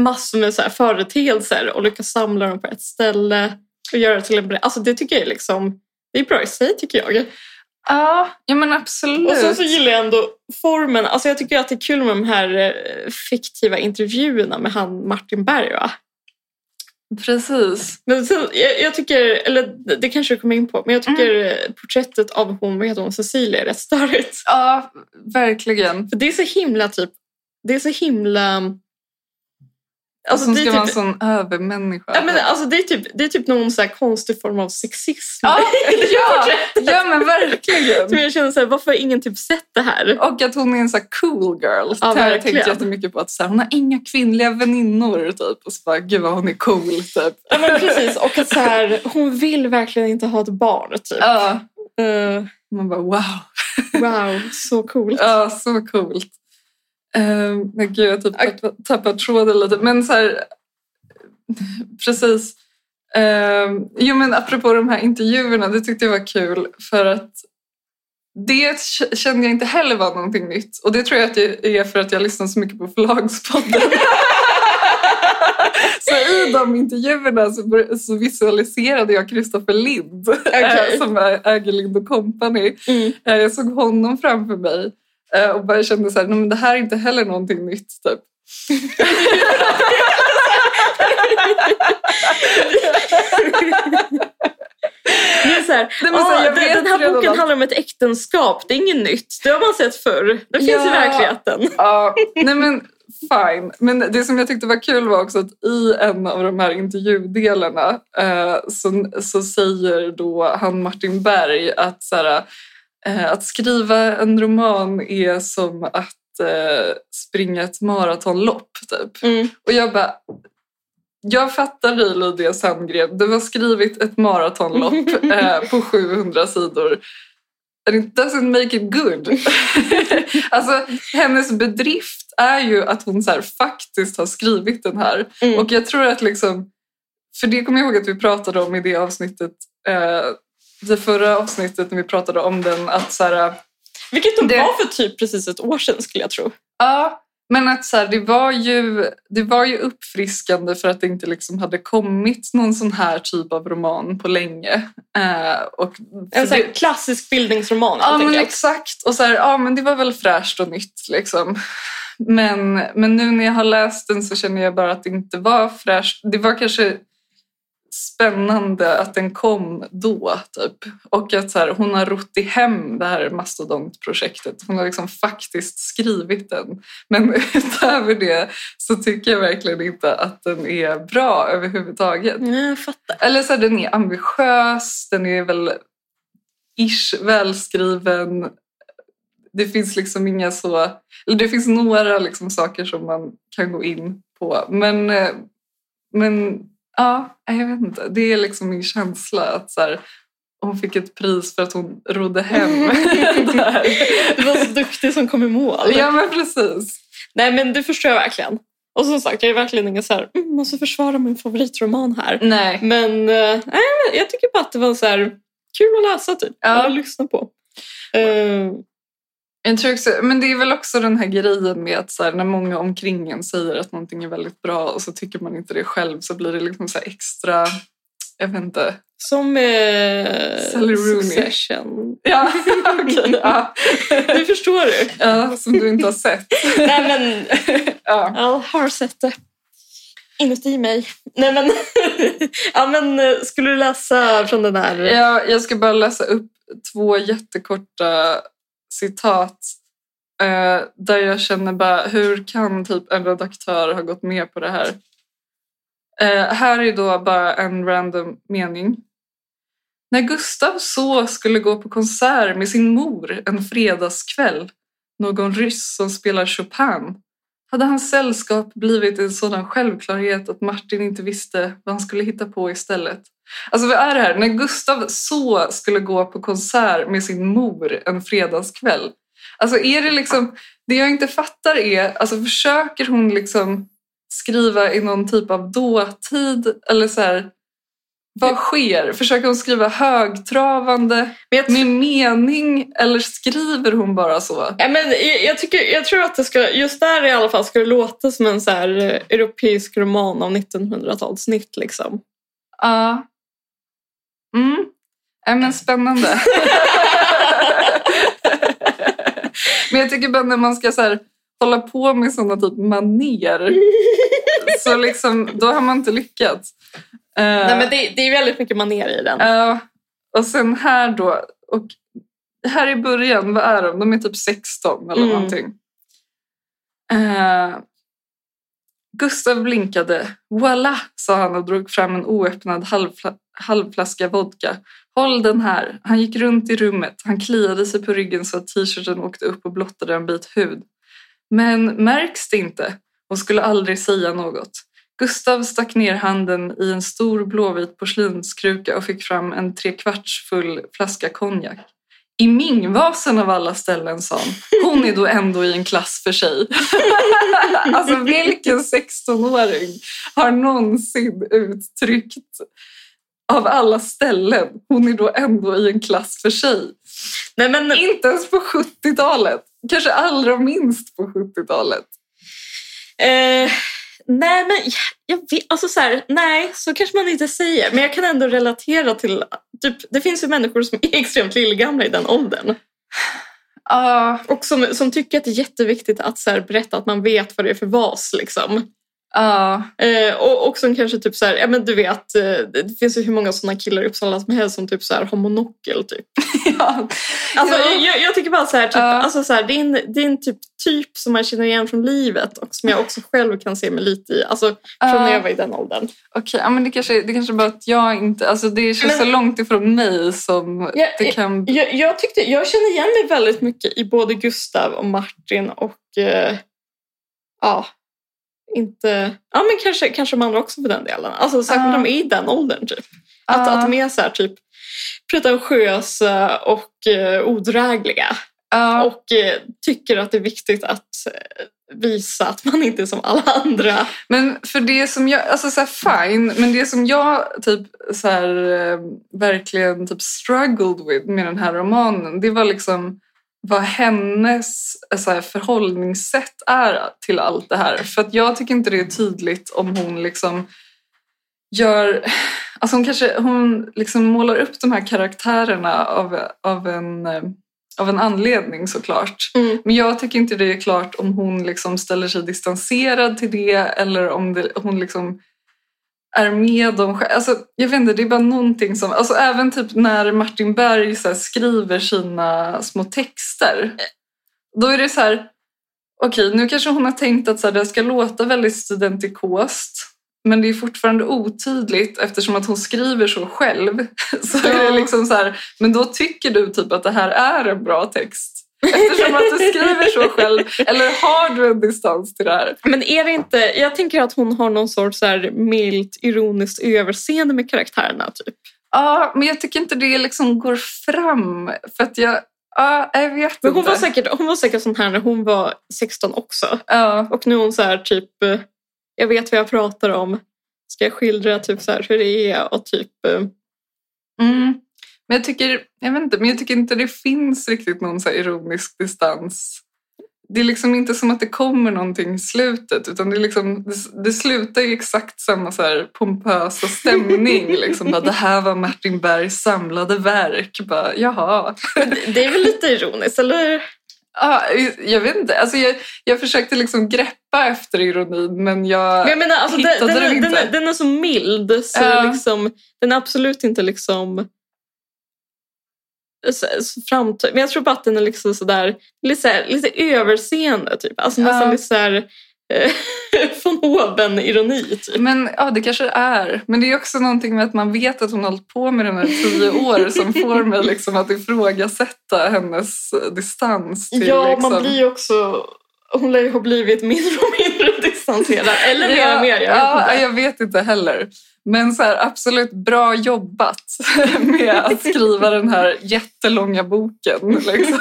S3: massor med så här företeelser och lyckas samla dem på ett ställe och göra det till en bre- Alltså det tycker jag är liksom, det är bra i sig tycker jag.
S2: Ja, ja men absolut.
S3: Och sen så gillar jag ändå formen. Alltså jag tycker att det är kul med de här eh, fiktiva intervjuerna med han Martin Berg va?
S2: Precis.
S3: Men sen, jag, jag tycker, eller det- det kanske du kommer in på, men jag tycker eh, porträttet av hon, vad heter hon, Cecilia är rätt störigt.
S2: Ja, verkligen.
S3: För det är så himla typ, det är så himla...
S2: Alltså,
S3: Alltså,
S2: som
S3: det
S2: ska
S3: är
S2: vara en
S3: typ,
S2: sån övermänniska.
S3: ja, men, alltså, det är typ, det är typ någon så här konstig form av sexism.
S2: ja, ja, ja, men verkligen.
S3: Som jag känner så här, varför har ingen typ sett det här?
S2: Och att hon är en så här cool girl.
S3: Ja,
S2: det har jag
S3: verkligen.
S2: tänkt jättemycket på. Att så här, hon har inga kvinnliga väninnor. Typ. Och så bara, gud vad hon är cool. Typ.
S3: Ja, men precis. Och att så här, hon vill verkligen inte ha ett barn. Typ.
S2: Ja.
S3: Eh,
S2: Man bara, wow.
S3: wow, så coolt.
S2: Ja, så coolt. Uh, men gud, jag har typ tappat, tappat tråden lite. Men så här, precis. Ehm, jo, men apropå de här intervjuerna, det tyckte jag var kul. För att det k- kände jag inte heller var någonting nytt. Och det tror jag att det är för att jag lyssnar så mycket på Förlagspodden. så i de intervjuerna så, bör- så visualiserade jag Kristoffer Lind, eh,
S3: Okej.
S2: som ä- äger Lind Company.
S3: Mm.
S2: Eh, Jag såg honom framför mig eh, och bara kände så här, "Nej, men det här är inte heller någonting nytt. Typ.
S3: Det är så här,
S2: Nej, men så
S3: "Ah,
S2: jag
S3: den,
S2: vet
S3: den här
S2: redan
S3: boken
S2: att-
S3: handlar om ett äktenskap, det är inget nytt. Det har man sett förr. Det finns i
S2: Ja.
S3: verkligheten.
S2: Ja, nej men fine. Men det som jag tyckte var kul var också att i en av de här intervjudelarna eh, så, så säger då han Martin Berg att, så här, eh, att skriva en roman är som att eh, springa ett maratonlopp. Typ.
S3: Mm.
S2: Och jag bara... Jag fattar dig, Lydia Sandgren. Du har skrivit ett maratonlopp eh, på 700 sidor. And it doesn't make it good. alltså, hennes bedrift är ju att hon så här, faktiskt har skrivit den här.
S3: Mm.
S2: Och jag tror att liksom... För det kommer jag ihåg att vi pratade om i det avsnittet. Eh, det förra avsnittet när vi pratade om den. Att så här,
S3: Vilket de
S2: Det-
S3: var för typ precis ett år sedan skulle jag tro.
S2: Ja, men att så här, det, var ju, det var ju uppfriskande för att det inte liksom hade kommit någon sån här typ av roman på länge. Eh, och
S3: En
S2: för
S3: sån här
S2: det-
S3: klassisk bildningsroman
S2: Ja,
S3: helt
S2: men
S3: enkelt.
S2: exakt. Och så här, ja, men det var väl fräscht och nytt. Liksom. Men, men nu när jag har läst den så känner jag bara att det inte var fräscht. Det var kanske spännande att den kom då. Typ. Och att så här, hon har rott i hem det här mastodontprojektet. Hon har liksom faktiskt skrivit den. Men utöver det så tycker jag verkligen inte att den är bra överhuvudtaget.
S3: Nej, jag fattar.
S2: Eller så här, den är ambitiös, den är väl ish välskriven. Det finns liksom inga så... Eller det finns några liksom saker som man kan gå in på. Men, eh, men ja, nej, jag vet inte. Det är liksom min känsla att så här, hon fick ett pris för att hon rodde hem det här.
S3: Du var så duktig som kom i mål.
S2: Ja, men precis.
S3: Nej, men det förstår jag verkligen. Och som sagt, jag är verkligen ingen så här, mm, måste försvara min favoritroman här.
S2: Nej.
S3: Men, eh, nej, men jag tycker bara att det var så här, kul att läsa typ.
S2: Ja.
S3: Eller lyssna på. Eh,
S2: Jag tror också, men det är väl också den här grejen med att så här, när många omkring en säger att någonting är väldigt bra och så tycker man inte det själv så blir det liksom så här extra... Jag vet inte.
S3: som eh,
S2: Sally Rooney.
S3: Succession.
S2: Ja, okej. ja.
S3: Du förstår du.
S2: ja, som du inte har sett.
S3: nej, men
S2: Ja.
S3: jag har sett det. inuti mig. Nej men, ja, men eh, skulle du läsa från den här?
S2: Jag, jag ska bara läsa upp två jättekorta citat eh, där jag känner bara hur kan typ en redaktör ha gått med på det här? Eh, här är då bara en random mening. När Gustav så skulle gå på konsert med sin mor en fredagskväll, någon ryss som spelar Chopin, hade hans sällskap blivit en sådan självklarhet att Martin inte visste vad han skulle hitta på istället. Alltså vad är det här? När Gustav så skulle gå på konsert med sin mor en fredagskväll. Alltså är det liksom, det jag inte fattar är, alltså försöker hon liksom skriva i någon typ av dåtid eller så här, vad sker? Försöker hon skriva högtravande
S3: Men jag,
S2: med mening eller skriver hon bara så?
S3: ja, men jag, jag, tycker, jag tror att det ska, just där i alla fall ska det låta som en så här eh, europeisk roman av 1900-talsnitt. Liksom.
S2: Ja. Mm. Ja, men spännande. men jag tycker bara när man ska så här, hålla på med sådana typ maner så liksom, då har man inte lyckats. Eh,
S3: Nej, men det, det är väldigt mycket maner i den.
S2: ja. och sen här då, och här i början, vad är de? De är typ 16 eller
S3: Mm.
S2: någonting. Eh, Gustav blinkade. Voila, sa han och drog fram en oöppnad halvfla- halvflaska vodka. Håll den här. Han gick runt i rummet. Han kliade sig på ryggen så att t-shirten åkte upp och blottade en bit hud. Men märks det inte? Hon skulle aldrig säga något. Gustav stack ner handen i en stor blåvit porslinskruka och fick fram en trekvarts full flaska konjak. I Mingvasen av alla ställen, sa han. Hon är då ändå i en klass för sig. alltså vilken 16-åring har någonsin uttryckt av alla ställen, hon är då ändå i en klass för sig.
S3: Nej, men,
S2: Inte ens på 70-talet. Kanske allra minst på 70-talet.
S3: Eh, nej, men jag, jag vet, alltså så här, nej, så kanske man inte säger. Men jag kan ändå relatera till, typ, det finns ju människor som är extremt lillgamla i den åldern.
S2: Ja,
S3: Och som, som tycker att det är jätteviktigt att så här, berätta att man vet vad det är för vas. Liksom.
S2: ja,
S3: Eh, och, och som kanske typ så här, ja men du vet, eh, det- det finns ju hur många sådana killar i Uppsala som helst som typ så här, har monokel typ.
S2: ja.
S3: Alltså,
S2: Ja.
S3: jag, jag tycker bara så här, typ,
S2: Ja.
S3: alltså så här, det är en, det är en typ, typ som man känner igen från livet och som jag också själv kan se mig lite i. Alltså från när jag var i den åldern.
S2: Okej, ja, men det kanske, det kanske bara att jag inte... Alltså det känns
S3: Men-
S2: så långt ifrån mig som
S3: Ja,
S2: det kan...
S3: Jag, jag, tyckte, jag kände igen mig väldigt mycket i både Gustav och Martin och eh, ja, inte, ja men kanske, kanske de andra också för den delen. Alltså särskilt
S2: Ja.
S3: de är i den åldern typ. Att,
S2: Ja.
S3: att de är så här typ pretentiösa och eh, odrägliga
S2: Ja,
S3: och eh, tycker att det är viktigt att eh, visa att man inte är som alla andra.
S2: Men för det som jag, alltså så här, fine, men det som jag typ så här, eh, verkligen typ struggled with med den här romanen, det var liksom vad hennes eh, så här, förhållningssätt är till allt det här. För att jag tycker inte det är tydligt om hon liksom gör, alltså hon kanske, hon liksom målar upp de här karaktärerna av, av, en, eh, av en anledning såklart.
S3: Mm.
S2: Men jag tycker inte det är klart om hon liksom ställer sig distanserad till det eller om det, hon liksom är med dem själv. Alltså, jag vet inte, det är bara någonting som... Alltså, även typ när Martin Berg så här, skriver sina små texter. Då är det så här... Okej, nu kanske hon har tänkt att så här, det ska låta väldigt studentikost. Men det är fortfarande otydligt eftersom att hon skriver så själv. Så är
S3: Ja.
S2: det liksom så här, men då tycker du typ att det här är en bra text. Eftersom att du skriver så själv. Eller har du en distans till det här?
S3: Men är det inte, jag tänker att hon har någon sorts så här milt ironiskt överseende med karaktärerna typ.
S2: Ja, men jag tycker inte det liksom går fram. För att jag... Ja, jag vet
S3: Men hon
S2: inte.
S3: var, säkert, hon var säkert sån här när hon var 16 också.
S2: Ja,
S3: Och nu är hon så här typ, eh, jag vet vad jag pratar om. Ska jag skildra typ så här hur det är och typ... eh,
S2: mm. Men jag tycker, jag vet inte, men jag tycker inte det finns riktigt någon så här ironisk distans. Det är liksom inte som att det kommer någonting i slutet utan det, är liksom, det, det slutar i exakt samma så här pompösa stämning. liksom, bara, det här var Martin Bergs samlade verk. Bara, Jaha.
S3: det- Det är väl lite ironiskt, eller?
S2: Ja, jag vet inte. Alltså jag, jag försökte liksom greppa ropa efter ironin men jag...
S3: Men jag menar, alltså, den,
S2: Hittade
S3: den,
S2: du
S3: är-
S2: inte?
S3: den, är- den är så mild så
S2: Ja.
S3: liksom, den är absolut inte liksom så, så framt- Men jag tror bara att den är liksom sådär, lite, så här, lite överseende typ. Alltså
S2: Ja.
S3: nästan lite såhär eh, von oben-ironi typ.
S2: Men ja, det kanske det är. Men det är också någonting med att man vet att hon har hållit på med den här tio år som får mig liksom att ifrågasätta hennes eh, distans. Till,
S3: Ja,
S2: liksom...
S3: man blir ju också... Hon lär ju ha blivit mindre och mindre distanserad. Eller mer
S2: ja,
S3: och mer. Jag vet
S2: ja,
S3: inte.
S2: jag vet inte heller. Men så här, absolut bra jobbat med att skriva den här jättelånga boken. Liksom.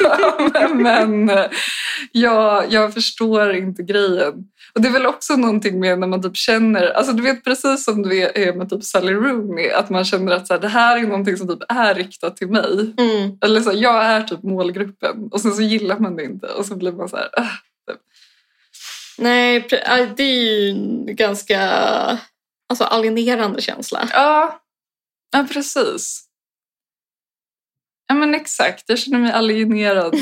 S2: Men eh, jag, jag förstår inte grejen. Och det är väl också någonting med när man typ känner, alltså du vet precis som du är med typ Sally Rooney, att man känner att så här, det här är någonting som typ är riktat till mig.
S3: Mm.
S2: Eller så här, jag är typ målgruppen och sen så gillar man det inte och så blir man så här, "Ah."
S3: Nej, pre- aj, det är ju en ganska alltså, alienerande känsla.
S2: Ja, ja precis. Ja men exakt, jag känner mig alienerad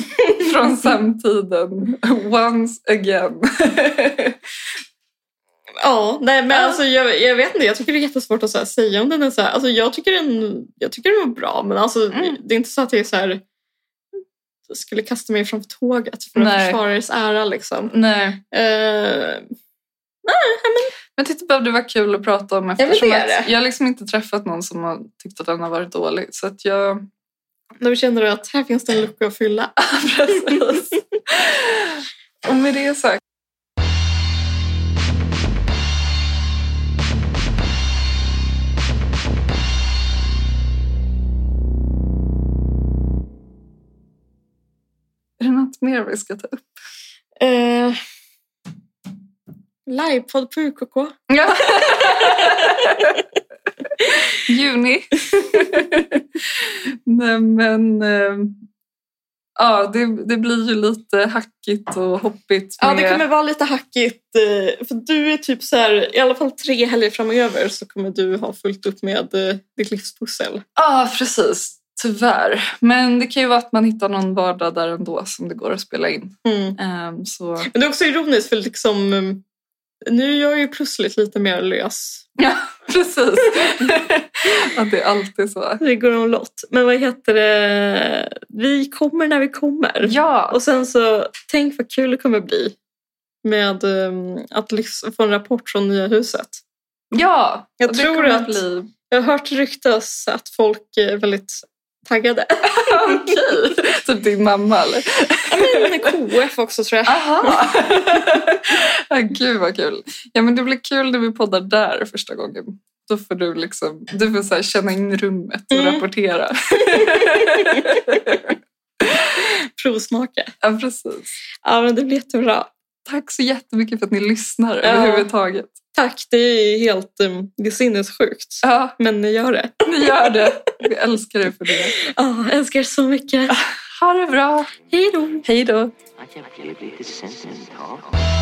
S2: från samtiden. Once again.
S3: Ja, nej, men
S2: Ja.
S3: Alltså, jag, jag vet inte. Jag tycker det är jättesvårt att så här, säga om den är så här. Alltså, jag, tycker den, jag tycker den var bra, men alltså,
S2: Mm.
S3: det är inte så att jag är så här, jag skulle kasta mig framför tåget för att
S2: Nej.
S3: försvara dess ära. Liksom.
S2: Nej.
S3: Eh,
S2: Men tyckte bara det var kul att prata om
S3: det
S2: eftersom
S3: är
S2: att
S3: det.
S2: jag har liksom inte träffat någon som har tyckt att den har varit dålig. Så att jag...
S3: då känner du att här finns det en lucka att fylla.
S2: Precis. Och med det sagt. Är det något mer vi ska ta upp?
S3: Eh, Livepodd på UKK.
S2: Ja. Juni. Nej men... eh, Ja, det, det blir ju lite hackigt och hoppigt.
S3: Ja,
S2: med-
S3: det kommer vara lite hackigt. eh, För du är typ så här, i alla fall tre helger framöver så kommer du ha fullt upp med eh, ditt livspussel.
S2: Ja, precis. Tyvärr. Men det kan ju vara att man hittar någon vardag där ändå som det går att spela in.
S3: Mm.
S2: Ehm, så...
S3: Men det är också ironiskt för liksom, eh, nu är jag ju plötsligt lite mer lös.
S2: Ja, precis. ja, det är alltid så.
S3: Det går omlott. Men vad heter det? Vi kommer när vi kommer.
S2: Ja,
S3: Och sen så, tänk vad kul det kommer bli med eh, att livs- få en rapport från nya huset.
S2: ja.
S3: Jag
S2: Och
S3: tror
S2: kommer
S3: att-
S2: Bli...
S3: Jag har hört ryktas att folk är väldigt taggade.
S2: Okej. Typ din mamma eller?
S3: Men KF också tror jag.
S2: Aha. ja, gud vad kul. Ja, men det blir kul när vi poddar där första gången. Då får du liksom, du får så här känna in rummet och
S3: Mm.
S2: rapportera.
S3: Provsmaka.
S2: ja, precis.
S3: Ja, men det blir jättebra.
S2: Tack så jättemycket för att ni lyssnar
S3: Ja.
S2: överhuvudtaget.
S3: Tack, det är helt um, det är sinnessjukt.
S2: Ja,
S3: Men ni gör det.
S2: ni gör det. Vi älskar er för det.
S3: Ja, jag älskar er så mycket.
S2: Ha det bra.
S3: Hej då!
S2: Ah. Hej då.
S1: I can't believe this sentence.